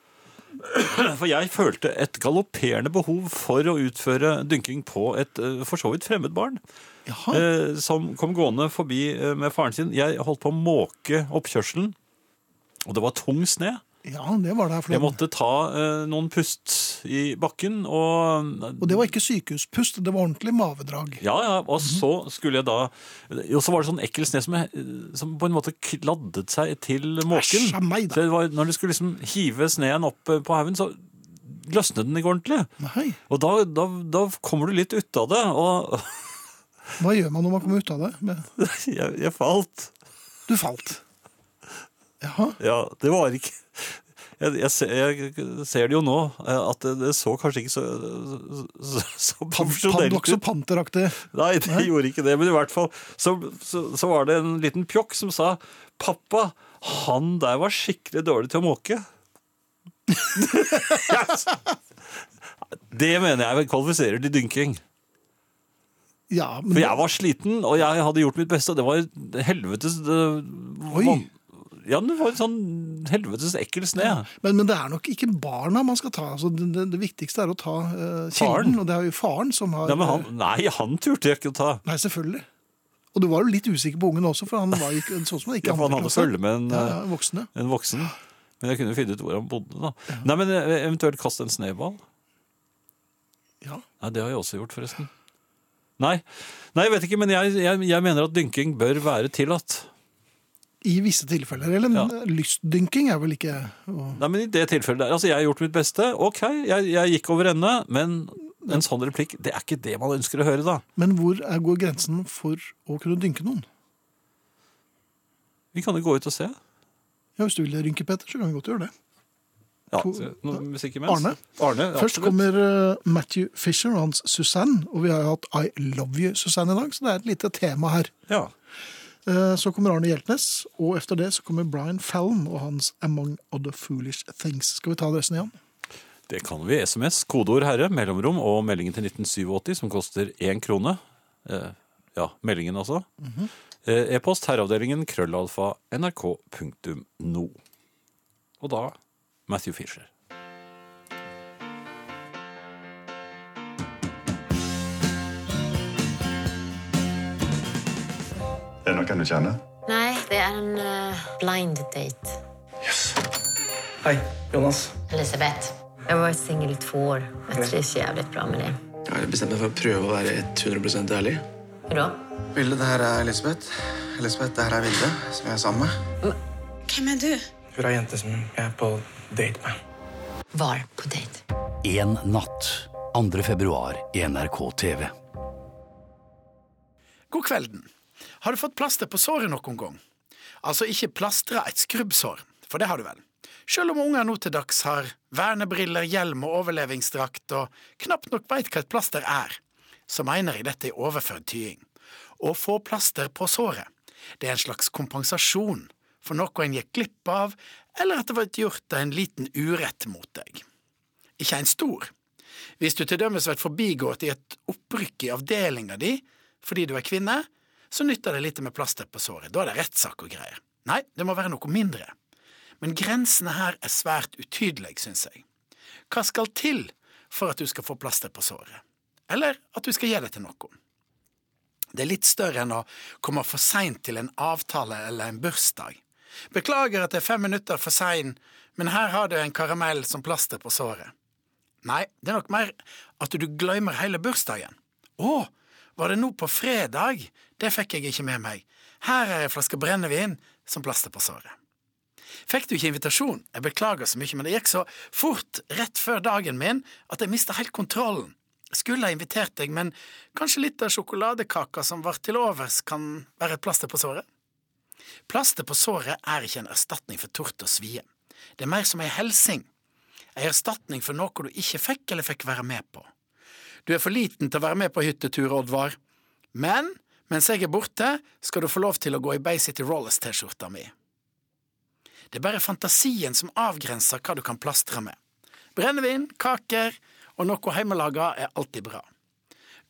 B: For jeg følte et galopperende behov for å utføre dynking på et eh, for så vidt fremmed barn.
A: Jaha.
B: eh, Som kom gående forbi eh, med faren sin. Jeg holdt på å måke oppkjørselen, og det var tung sne.
A: Ja, det var det her
B: Jeg
A: forleden.
B: måtte ta eh, noen pust i bakken, og
A: Og det var ikke sykehuspust, det var ordentlig mavedrag.
B: Ja, ja, og så skulle jeg da Og så var det sånn ekkel sne som, jeg- som på en måte kladdet seg til måken.
A: Æsj, a meg da.
B: Så det var, når du skulle liksom hive sneen opp eh, på haugen, så løsnet den ikke ordentlig.
A: Nei,
B: Og da, da, da kommer du litt ut av det, og
A: hva gjør man når man kommer ut av det? Men-
B: jeg, jeg falt.
A: Du falt. Jaha.
B: Ja, det var ikke jeg, jeg, ser, jeg ser det jo nå, eh, at det, det så kanskje ikke så, så, så profesjonelt
A: Paradoks
B: ut.
A: og panteraktig.
B: Nei, det gjorde ikke det, men i hvert fall så, så, så var det en liten pjokk som sa Pappa, han der var skikkelig dårlig til å måke. Yes! det mener jeg vel kvalifiserer til dynking.
A: Ja, men
B: For jeg var sliten, og jeg hadde gjort mitt beste, og det var helvetes det,
A: Oi.
B: van- Ja, det var en sånn helvetes ekkel sne.
A: Men, men det er nok ikke barna man skal ta. Altså, det, det, det viktigste er å ta eh, kilden,
B: Faren.
A: og det er jo faren som har
B: Nei, men han, nei, han turte jeg ikke å ta.
A: Nei, selvfølgelig. Og du var jo litt usikker på ungen også, for han var ikke, sånn som han gikk i
B: Ja, for han hadde
A: klasse.
B: følge med en, eh,
A: ja, ja, voksne.
B: en voksen. Men jeg kunne jo finne ut hvor han bodde. da. Nei, men eh, Eventuelt kast en snøball.
A: Ja.
B: Nei, det har jeg også gjort, forresten. Nei, Nei jeg vet ikke, men jeg, jeg, jeg mener at dynking bør være tillatt.
A: I visse tilfeller. Eller eh,
B: Ja.
A: lystdynking er vel ikke å-
B: Nei, men i det tilfellet der, altså Jeg har gjort mitt beste. Ok, jeg, jeg gikk over ende, men en sånn replikk det er ikke det man ønsker å høre, da.
A: Men hvor er, går grensen for å kunne dynke noen?
B: Vi kan jo gå ut og se.
A: Ja, Hvis du vil rynke, Petter, så kan vi godt gjøre det.
B: Ja,
A: To-
B: så- noe musikk imens.
A: Arne.
B: Arne ja,
A: Først
B: absolutt.
A: kommer eh, Matthew Fisher og hans Susanne, og vi har jo hatt I Love You Susanne i dag, så det er et lite tema her.
B: Ja.
A: Eh, Så kommer Arne Hjeltnes, og efter det så kommer Brian Fallon og hans Among Other Foolish Things. Skal vi ta adressen igjen?
B: Det kan vi. SMS, kodeord herre, mellomrom og meldingen til 1987 som koster én krone. Eh, ja, meldingen altså. eh, E-post herreavdelingen krøllalfa nrk.no. Og da Matthew Fisher.
H: Det er noen du kjenner?
I: Nei, det er en eh, blind date.
J: Hei, Jonas.
I: Elisabeth. Jeg var singel i to år. Jeg trives jævlig bra med det.
J: Jeg har bestemt meg for å prøve å være 100 ærlig.
I: Hvor da?
J: Vilde, det her er Elisabeth. Elisabeth, det her er Vilde, som jeg er sammen med.
G: Hvem er du?
J: Hun er jente som jeg er på date med.
I: Var på date.
K: En natt. 2. februar i NRK TV.
L: God kvelden. Har du fått plaster på såret noen gang? Altså ikke plastre et skrubbsår, for det har du vel. Selv om unger nå til dags har vernebriller, hjelm og overlevingsdrakt og knapt nok veit hva et plaster er, så mener jeg dette i overført tying. Å få plaster på såret, det er en slags kompensasjon for noe en gikk glipp av, eller at det var gjort en liten urett mot deg. Ikke en stor. Hvis du til dømes blir forbigått i et opprykk i avdelinga di fordi du er kvinne, så nytter det lite med plaster på såret. Da er det rettssak og greier. Nei, det må være noe mindre. Men grensene her er svært utydelige, syns jeg. Hva skal til for at du skal få plaster på såret? Eller at du skal gi det til noen? Det er litt større enn å komme for seint til en avtale eller en bursdag. Beklager at jeg er fem minutter for sein, men her har du en karamell som plaster på såret. Nei, det er nok mer at du glemmer hele bursdagen. Å, var det nå på fredag? Det fikk jeg ikke med meg. Her er ei flaske brennevin som plaster på såret. Fikk du ikke invitasjon? Jeg beklager så mye, men det gikk så fort rett før dagen min at jeg mista helt kontrollen. Skulle ha invitert deg, men kanskje litt av sjokoladekaka som var til overs, kan være et plaster på såret? Plaster på såret er ikke en erstatning for tort og svie. Det er mer som ei helsing. Ei erstatning for noe du ikke fikk eller fikk være med på. Du er for liten til å være med på hyttetur, Oddvar, men mens jeg er borte, skal du få lov til å gå i Bay City Rollers-T-skjorta mi. Det er bare fantasien som avgrenser hva du kan plastre med. Brennevin, kaker og noe hjemmelaga er alltid bra.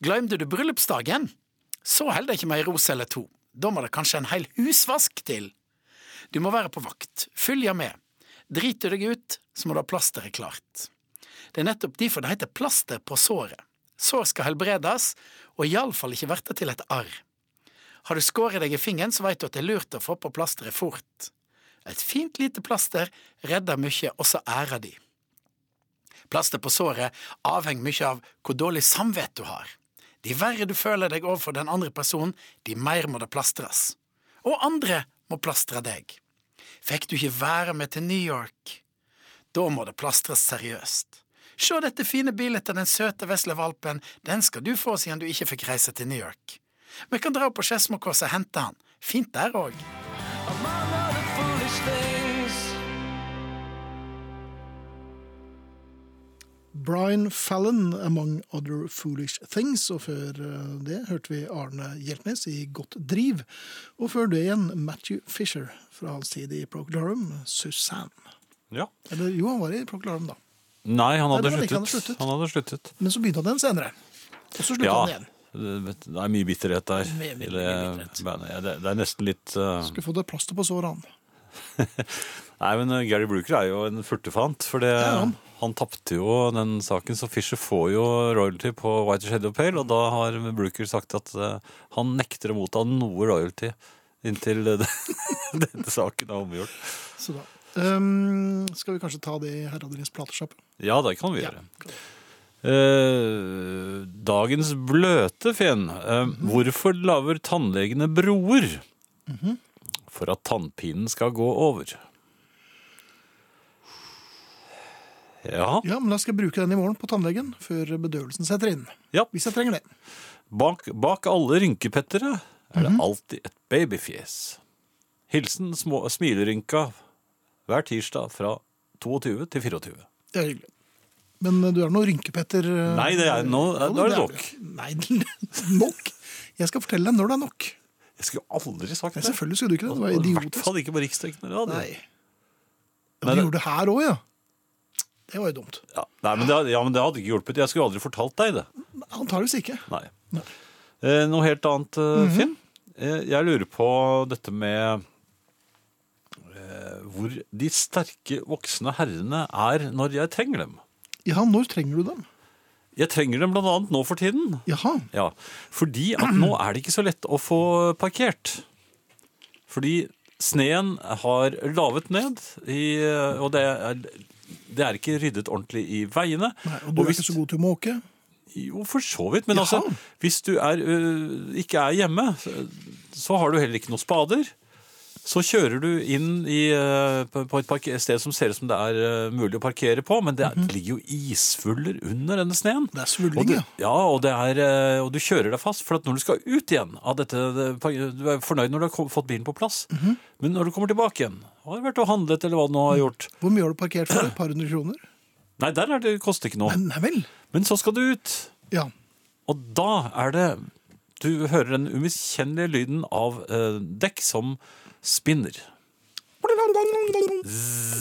L: Glemte du bryllupsdagen, så holder det ikke med ei rose eller to. Da må det kanskje en hel husvask til. Du må være på vakt, følge med. Driter du deg ut, så må du ha plasteret klart. Det er nettopp derfor det heter plaster på såret. Sår skal helbredes, og iallfall ikke verte til et arr. Har du skåret deg i fingeren, så veit du at det er lurt å få på plasteret fort. Et fint lite plaster redder mye, også æra di. Plaster på såret avhenger mye av hvor dårlig samvett du har. De verre du føler deg overfor den andre personen, de mer må det plastres. Og andre må plastre deg. Fikk du ikke være med til New York? Da må det plastres seriøst. Se dette fine bildet av den søte vesle valpen, den skal du få siden du ikke fikk reise til New York. Vi kan dra opp på Skedsmokorset og hente han. Fint der òg.
A: Brian Fallon, Among Other Foolish Things. Og før eh, det hørte vi Arne Hjeltnes i Godt driv. Og før det igjen Matthew Fisher fra hans tid i Proclarum, Susanne.
B: Ja.
A: Eller jo, han var i Proclarum da.
B: Nei, han hadde,
A: Nei, det var
B: sluttet.
A: ikke han
B: han
A: hadde sluttet.
B: hadde sluttet.
A: Men så begynte han den senere. Og så sluttet han igjen.
B: det vet- det er mye bitterhet der.
A: Mye, mye,
B: i
A: mye
B: det,
A: bitterhet.
B: bandet. Ja, det, det er nesten litt eh,
A: Skulle få det plaster på såret, han.
B: Nei, men eh, Gary Brooker er jo en furtefant, for det,
A: er han.
B: han. Han tapte jo den saken, så Fisher får jo royalty på White Shadow Pale, og da har Brooker sagt at eh, han nekter å motta noe royalty inntil eh, denne saken er omgjort.
A: Så da. Ehm, skal vi kanskje ta det i Herreavdelingens platesjappe?
B: Ja, det kan vi gjøre. Eh, dagens bløte fen. Eh, hvorfor lager tannlegene broer?
A: Mhm.
B: For at tannpinen skal gå over. Ja.
A: Ja, men da skal jeg bruke den i morgen på tannlegen før bedøvelsen setter inn.
B: Ja.
A: Hvis jeg trenger det.
B: Bak, bak alle rynkepettere er
A: Mhm.
B: det alltid et babyfjes. Hilsen små, smilerynka hver tirsdag fra 22 til 24.
A: Det er hyggelig. Men eh, du er noe rynkepetter eh,
B: Nei, det er, nå,
A: Ja,
B: nå er det nok.
A: Nei, nok? Jeg skal fortelle deg når det er nok.
B: Jeg skulle aldri sagt
A: Nei,
B: det.
A: selvfølgelig skulle du ikke det. Det var
B: I hvert
A: idiotisk.
B: fall ikke på riksdekkende radio.
A: Nei. Ja,
B: Nei,
A: Du
B: det-
A: gjorde det her òg, ja. Det var jo dumt.
B: Ja, nei, men det, ja, men det hadde ikke hjulpet. Jeg skulle aldri fortalt deg det.
A: Antakeligvis ikke.
B: Nei. Eh, noe helt annet, eh,
A: Mhm.
B: Finn. Eh, jeg lurer på dette med eh, hvor de sterke voksne herrene er når jeg trenger dem.
A: Ja, når trenger du dem?
B: Jeg trenger dem blant annet nå for tiden.
A: Jaha.
B: Ja, fordi at nå er det ikke så lett å få parkert. Fordi sneen har lavet ned, i, og det er, det er ikke ryddet ordentlig i veiene.
A: Nei, og du er ikke så god til å måke.
B: Jo, for så vidt. Men altså, hvis du er, ø, ikke er hjemme, så- så har du heller ikke noen spader. Så kjører du inn i, ø, på på et parke- sted som ser ut som det er ø, mulig å parkere på, men det, er,
A: Mhm.
B: det ligger jo isfuller under denne sneen.
A: Det er svulling,
B: og du,
A: ja.
B: ja. Og, det er, ø, og du kjører deg fast, for at når du skal ut igjen av dette det, par- Du er fornøyd når du har kom- fått bilen på plass,
A: Mhm.
B: men når du kommer tilbake igjen Har du vært og handlet, eller hva du nå
A: Mm.
B: har gjort?
A: Hvor mye har du parkert for? Et par hundre kroner?
B: Nei, der er det, koster det ikke noe.
A: Nei vel.
B: Men så skal du ut.
A: Ja.
B: Og da er det Du hører den umiskjennelige lyden av eh, dekk som spinner.
A: Å,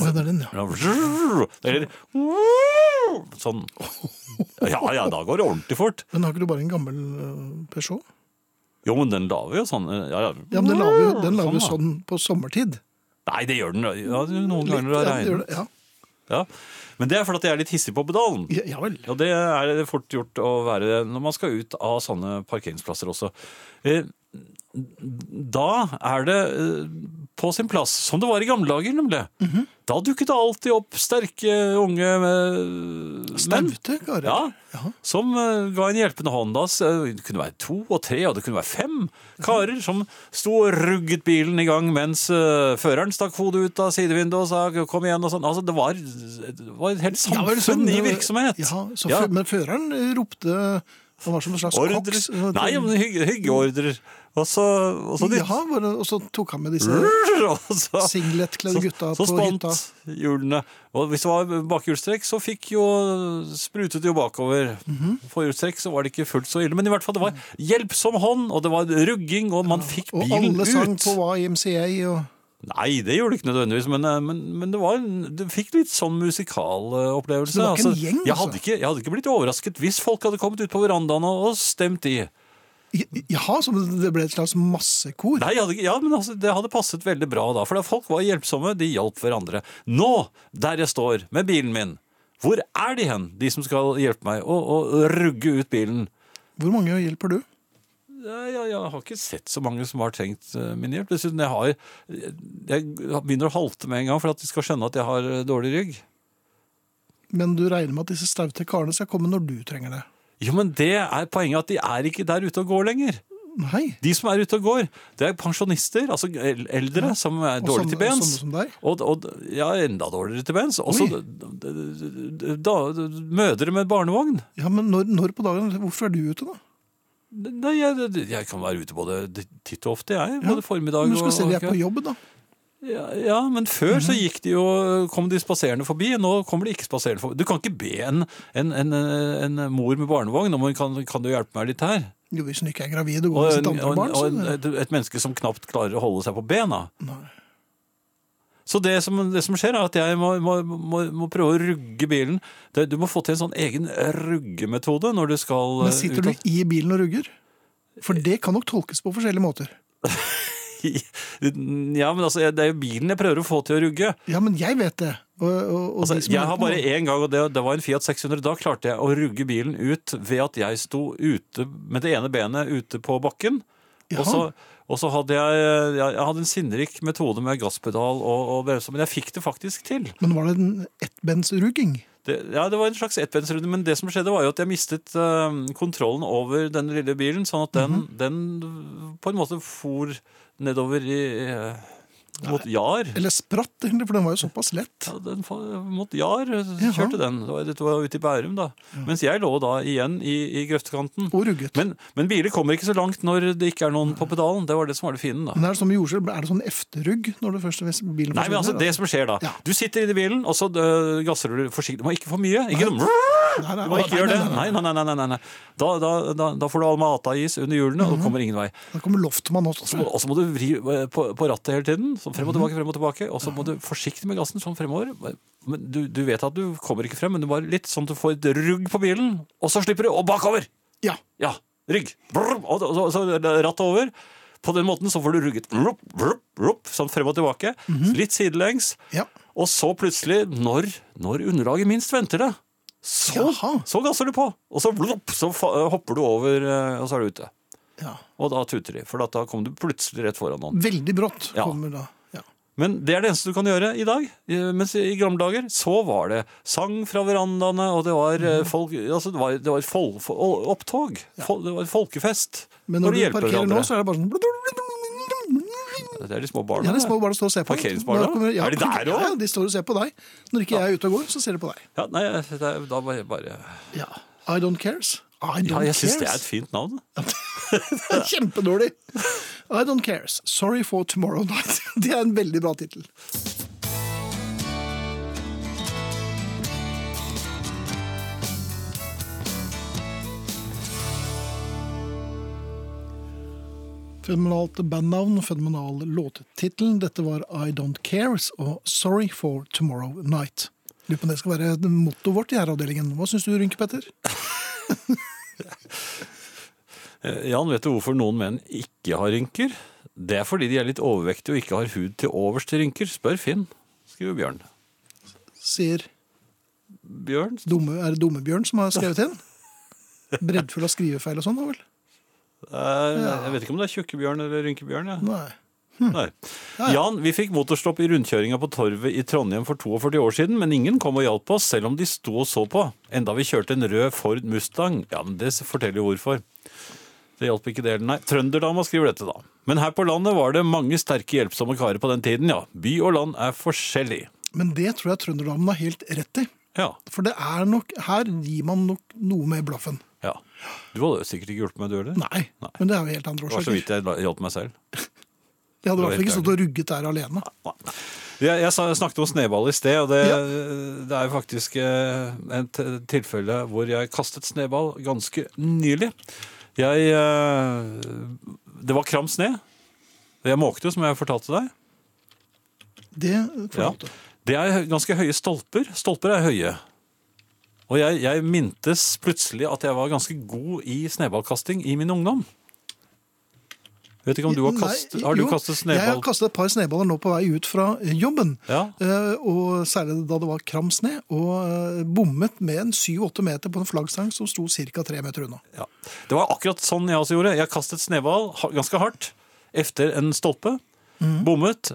A: ja, det er den, ja.
B: Eller sånn. Ja ja, da går det ordentlig fort.
A: Men har ikke du bare en gammel øh, Peugeot?
B: Jo, men den laver jo sånn. eh, Ja, ja.
A: Ja, men den lager jo den lager jo
B: da.
A: sånn på sommertid.
B: Nei, det gjør den. Ja, noen ganger når
A: ja,
B: det
A: det gjør
B: regner.
A: det, ja.
B: Ja. Men det er fordi at jeg er litt hissig på pedalen.
A: Ja, ja vel.
B: Og det er det fort gjort å være når man skal ut av sånne parkeringsplasser også. Eh, Da er det eh, på sin plass, som det var i gamle dager, nemlig. Da dukket det alltid opp sterke unge eh, menn.
A: Staute karer.
B: Ja, som eh, ga en hjelpende hånd. Da. Så, eh, Det kunne være to og tre, og det kunne være fem karer som sto og rugget bilen i gang mens eh, føreren stakk hodet ut av sidevinduet og sa 'kom igjen' og sånn. Altså, det var, det var et helt
A: Ja, vel,
B: samfunn
A: sånn,
B: i
A: øh,
B: virksomhet.
A: Ja, så
B: Ja.
A: fø- Men føreren øh, ropte Han var som en slags
B: Ordrer.
A: koks.
B: Nei, men hygge, hyggeordrer. Og så, og så
A: ja, bare, og så tok han med disse
B: Rrr, og så-
A: singletkledde gutta
B: så, så
A: på
B: spant
A: hytta.
B: hjulene. Og hvis det var bakhjulstrekk, så fikk jo sprutet det jo bakover.
A: Mhm.
B: Forhjulstrekk så var det ikke fullt så ille, men i hvert fall det var hjelpsom hånd, og det var rugging, og man fikk
A: Og
B: bilen
A: alle sang
B: ut.
A: på YMCA og
B: Nei, det gjorde det ikke nødvendigvis, men, eh, men, men det var, en- du fikk litt sånn musikal eh, opplevelse.
A: Så det var ikke en gjeng,
B: jeg,
A: altså?
B: hadde ikke, jeg hadde ikke blitt overrasket hvis folk hadde kommet ut på verandaen og, og stemt i.
A: Jaha, så det ble et slags massekor?
B: Nei, jeg hadde, ikke- ja, men altså, det hadde passet veldig bra da, for da folk var hjelpsomme, de hjalp hverandre. Nå, der jeg står med bilen min, hvor er de hen, de som skal hjelpe meg å, å rugge ut bilen?
A: Hvor mange hjelper du?
B: Ja, ja, jeg har ikke sett så mange som har trengt eh, min hjelp. Dessuten, jeg, har, jeg begynner å halte med en gang for at de skal skjønne at jeg har eh, dårlig rygg.
A: Men du regner med at disse staute karene skal komme når du trenger det?
B: Jo, men det er poenget at de er ikke der ute og går lenger.
A: Nei.
B: De som er ute og går, det er pensjonister, altså el- eldre, som er
A: Og
B: dårlige
A: sånne-
B: til bens.
A: sånne som deg?
B: Og, og ja, enda dårligere til bens. Også
A: Oi.
B: d- d- da, mødre med barnevogn.
A: Ja, men når, når på dagen? Hvorfor er du ute, da?
B: Nei, jeg, jeg kan være ute både titt og ofte, jeg.
A: Ja,
B: Både formiddag
A: Men du skal se de er på
B: kveld.
A: jobb, Mhm. da.
B: Ja, ja, men før så gikk de jo, kom de spaserende forbi. Nå kommer de ikke spaserende forbi. Du kan ikke be en, en, en, en mor med barnevogn om hun kan, kan du hjelpe meg litt her.
A: Jo, hvis hun ikke er gravid og går
B: Og,
A: med
B: en,
A: sitt
B: og,
A: andre
B: en,
A: barn,
B: og
A: så
B: en,
A: det,
B: et, et menneske som knapt klarer å holde seg på bena. Så det som, det som skjer, er at jeg må, må, må, må prøve å rugge bilen. Det- Du må få til en sånn egen ruggemetode når du skal eh,
A: Men sitter
B: ut
A: du
B: av-
A: i bilen og rugger? For det kan nok tolkes på forskjellige måter.
B: Ja, men altså, jeg- det er jo bilen jeg prøver å få til å rugge.
A: Ja, men jeg vet det. Og, og, og de
B: Altså,
A: som
B: jeg
A: hører
B: har
A: på
B: bare
A: nå-
B: én gang, og det, det var en Fiat 600. Da klarte jeg å rugge bilen ut ved at jeg sto ute med det ene benet ute på bakken. Og så, og så hadde jeg, jeg, jeg hadde en sinnrik metode med gasspedal og, og bremse, men jeg fikk det faktisk til.
A: Men var det en ettbensrugging?
B: Det, ja, det var en slags ettbensrunde, men det som skjedde var jo at jeg mistet eh, kontrollen over den lille bilen, sånn at den,
A: Mhm.
B: den på en måte for nedover i, eh, mot Jar.
A: Eller spratt, egentlig, for den var jo såpass lett.
B: Ja, den fa- mot Jar eh, kjørte den. Det var- Dette var ute i Bærum, da. Mens jeg lå da igjen i, i grøftekanten. Men, men biler kommer ikke så langt når det ikke er noen på pedalen. Det var det som var det fine, da.
A: Men er det sånn med jordskjelv? Er det sånn efterrugg når det første hvis bilen
B: Nei, men altså, det som skjer da Du sitter inni bilen, og så øh, gasser du forsiktig. Du må ikke for mye. Ikke noe
A: Altså,
B: Du må ikke gjøre det. Nei, nei, nei. nei, nei, nei. Da, da, da, da får du Alma-Ata-is under hjulene, og du kommer ingen vei.
A: Da kommer Loftmann
B: Og
A: også.
B: så må- Og så må du vri øh, på, på rattet hele tiden. Sånn frem og tilbake, frem og tilbake. Og så må du forsiktig med gassen sånn fremover. Men du, du vet at du kommer ikke frem, men du bare litt sånn at du får et rugg på bilen, og så slipper du, og bakover!
A: Ja.
B: Ja, rygg. Brr, og så, så rattet over. På den måten så får du rugget brup, brup, brup, sånn frem og tilbake. Litt sidelengs. Og så plutselig, når, når underlaget minst venter det, så, så gasser du på. Og så, blup, så fa- hopper du over, eh, og så er du ute.
A: Ja.
B: Og da tuter de, for da- da kom du plutselig rett foran noen.
A: Veldig brått
B: Ja.
A: kommer da.
B: Men det er det eneste du kan gjøre i dag. Eh, Mens i gamle dager så var det sang fra verandaene, og det var
A: Mhm.
B: eh, folk, altså det var, det var fol, fol, opptog. Fol, det var folkefest.
A: Men når, du
B: de hjelper
A: parkerer nå,
B: hverandre.
A: så er det bare sånn
B: Det er de små barna.
A: Ja, de små barna står og ser på.
B: Parkeringsbarna?
A: Når kommer- ja,
B: er de der
A: Ja,
B: òg?
A: de står og ser på deg. Når ikke jeg er ute og går, så ser de på deg.
B: Ja, nei, det er, da bare, bare
A: I don't cares. I
B: Ja,
A: don't
B: jeg syns det er
A: cares.
B: et fint navn.
A: Kjempedårlig. I don't cares. Sorry for tomorrow night. Det er en veldig bra tittel. Fenomenalt bandnavn, fenomenal låttittel. Dette var I Don't Cares og Sorry for Tomorrow Night. Lurer på om det skal være mottoet vårt i herreavdelingen. Hva syns du, Rynke Petter?
B: Eh, Jan, vet du hvorfor noen menn ikke har rynker? Det er fordi de er litt overvektige og ikke har hud til overs til rynker. Spør Finn, skriver Bjørn.
A: Sier
B: Bjørn?
A: Dumme, er det Dummebjørn som har skrevet inn? Breddfull av skrivefeil og sånn, da vel?
B: Eh, Jeg vet ikke om det er Tjukkebjørn eller Rynkebjørn. Jeg.
A: Nei.
B: Nei. Jan, vi fikk motorstopp i rundkjøringa på Torvet i Trondheim for 42 år siden, men ingen kom og hjalp oss, selv om de sto og så på. Enda vi kjørte en rød Ford Mustang. Ja, men det forteller jo hvorfor. Det hjalp ikke det heller, nei. Trønderdama skriver dette, da. Men her på landet var det mange sterke hjelpsomme karer på den tiden, ja. By og land er forskjellig.
A: Men det tror jeg trønderdamen har helt rett i.
B: Ja.
A: For det er nok, her gir man nok noe med blaffen.
B: ja. Du hadde jo sikkert ikke hjulpet meg, du heller?
A: Nei, men det er jo helt andre
B: Det var så
A: årsaker.
B: vidt jeg la- hjalp meg selv.
A: Jeg hadde i hvert
B: Det var
A: fall ikke
B: helt
A: stått og rugget der alene.
B: Jeg, jeg sa- snakket om snøball i sted, og det, det er jo faktisk eh, et tilfelle hvor jeg kastet snøball ganske nylig. Jeg eh, Det var kram sne. Jeg måkte jo, som jeg fortalte deg.
A: Det får
B: Ja. Det er ganske høye stolper. Stolper er høye. Og jeg, jeg mintes plutselig at jeg var ganske god i snøballkasting i min ungdom. Vet ikke om du har
A: Nei,
B: kastet, har du
A: jo,
B: kastet
A: Jeg har
B: snøball?
A: kastet et par sneballer nå på vei ut fra jobben.
B: Ja.
A: Eh, Og særlig da det var kram sne, og eh, bommet med en 7-8 meter på en flaggstang som sto ca. 3 meter unna.
B: Ja. Det var akkurat sånn jeg også gjorde. Jeg kastet snøball ha- ganske hardt efter en stolpe. Bommet.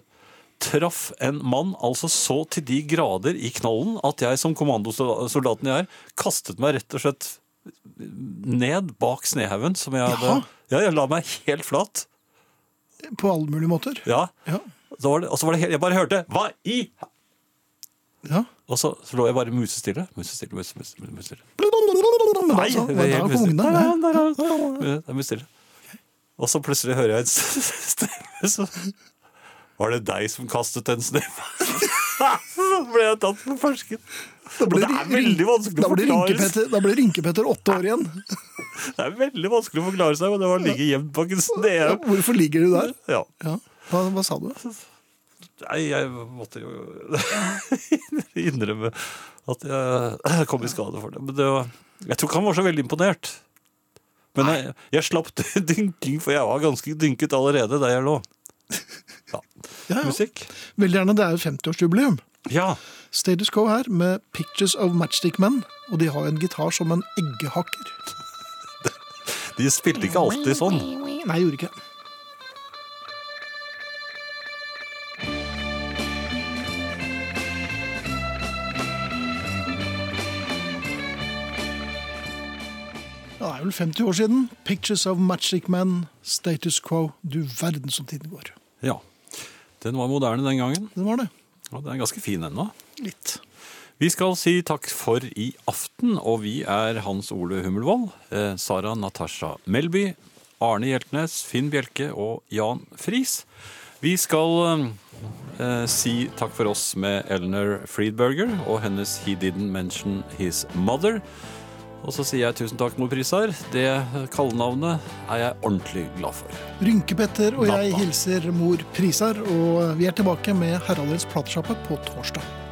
B: Traff en mann altså så til de grader i knollen at jeg som kommandosoldaten jeg er, kastet meg rett og slett ned bak snehaugen som jeg hadde Ja, jeg la meg helt flat.
A: På alle mulige måter.
B: Ja. Da var det, og så var det helt, jeg bare hørte Hva i
A: Ja.
B: Og så, så lå jeg bare musestille. Musestille, musestille, musestille. musestille.
A: Men da,
B: Nei,
A: så,
B: det Altså, er
A: da
B: helt
A: kom
B: mystisk.
A: ungene.
B: Nei, nei, Ja, Det er mye stille. Og så plutselig hører jeg en stemme som Var det deg som kastet den snøballen? så ble jeg tatt på fersken. Og det er veldig vanskelig
A: Da
B: å
A: ble
B: forklare
A: Rynkepetter- Da ble Rynkepetter åtte år igjen.
B: Det er veldig vanskelig å forklare seg, men det var å ligge gjemt bak en snehaug.
A: Hvorfor ligger du der?
B: Ja.
A: Ja. Hva, hva sa du?
B: Nei, jeg måtte jo innrømme at jeg kom i skade for det. Men det var, jeg tror ikke han var så veldig imponert. Men jeg, jeg slapp dynking, for jeg var ganske dynket allerede der jeg lå. Ja. Musikk?
A: Veldig gjerne, det er jo 50-årsjubileum. Status Quo her med Pictures of Matchstick Men, og de har en gitar som en eggehakker.
B: De spilte ikke alltid sånn.
A: Nei, gjorde ikke. Ja, Det er vel 50 år siden. 'Pictures of Magic Men', 'Status Quo'. Du verden som tiden går.
B: Ja. Den var moderne den gangen.
A: Den var det.
B: Og den er ganske fin ennå.
A: Litt.
B: Vi skal si takk for i aften, og vi er Hans Ole Hummelvold, eh, Sara Natasha Melby, Arne Hjeltnes, Finn Bjelke og Jan Friis. Vi skal eh, si takk for oss med Eleanor Friedberger og hennes He Didn't Mention His Mother. Og så sier jeg tusen takk, Nordprisar. Det kallenavnet er jeg ordentlig glad for.
A: Rynkepetter og jeg
B: Nappa.
A: hilser mor Prisar, og vi er tilbake med Haraldens platesjappe på torsdag.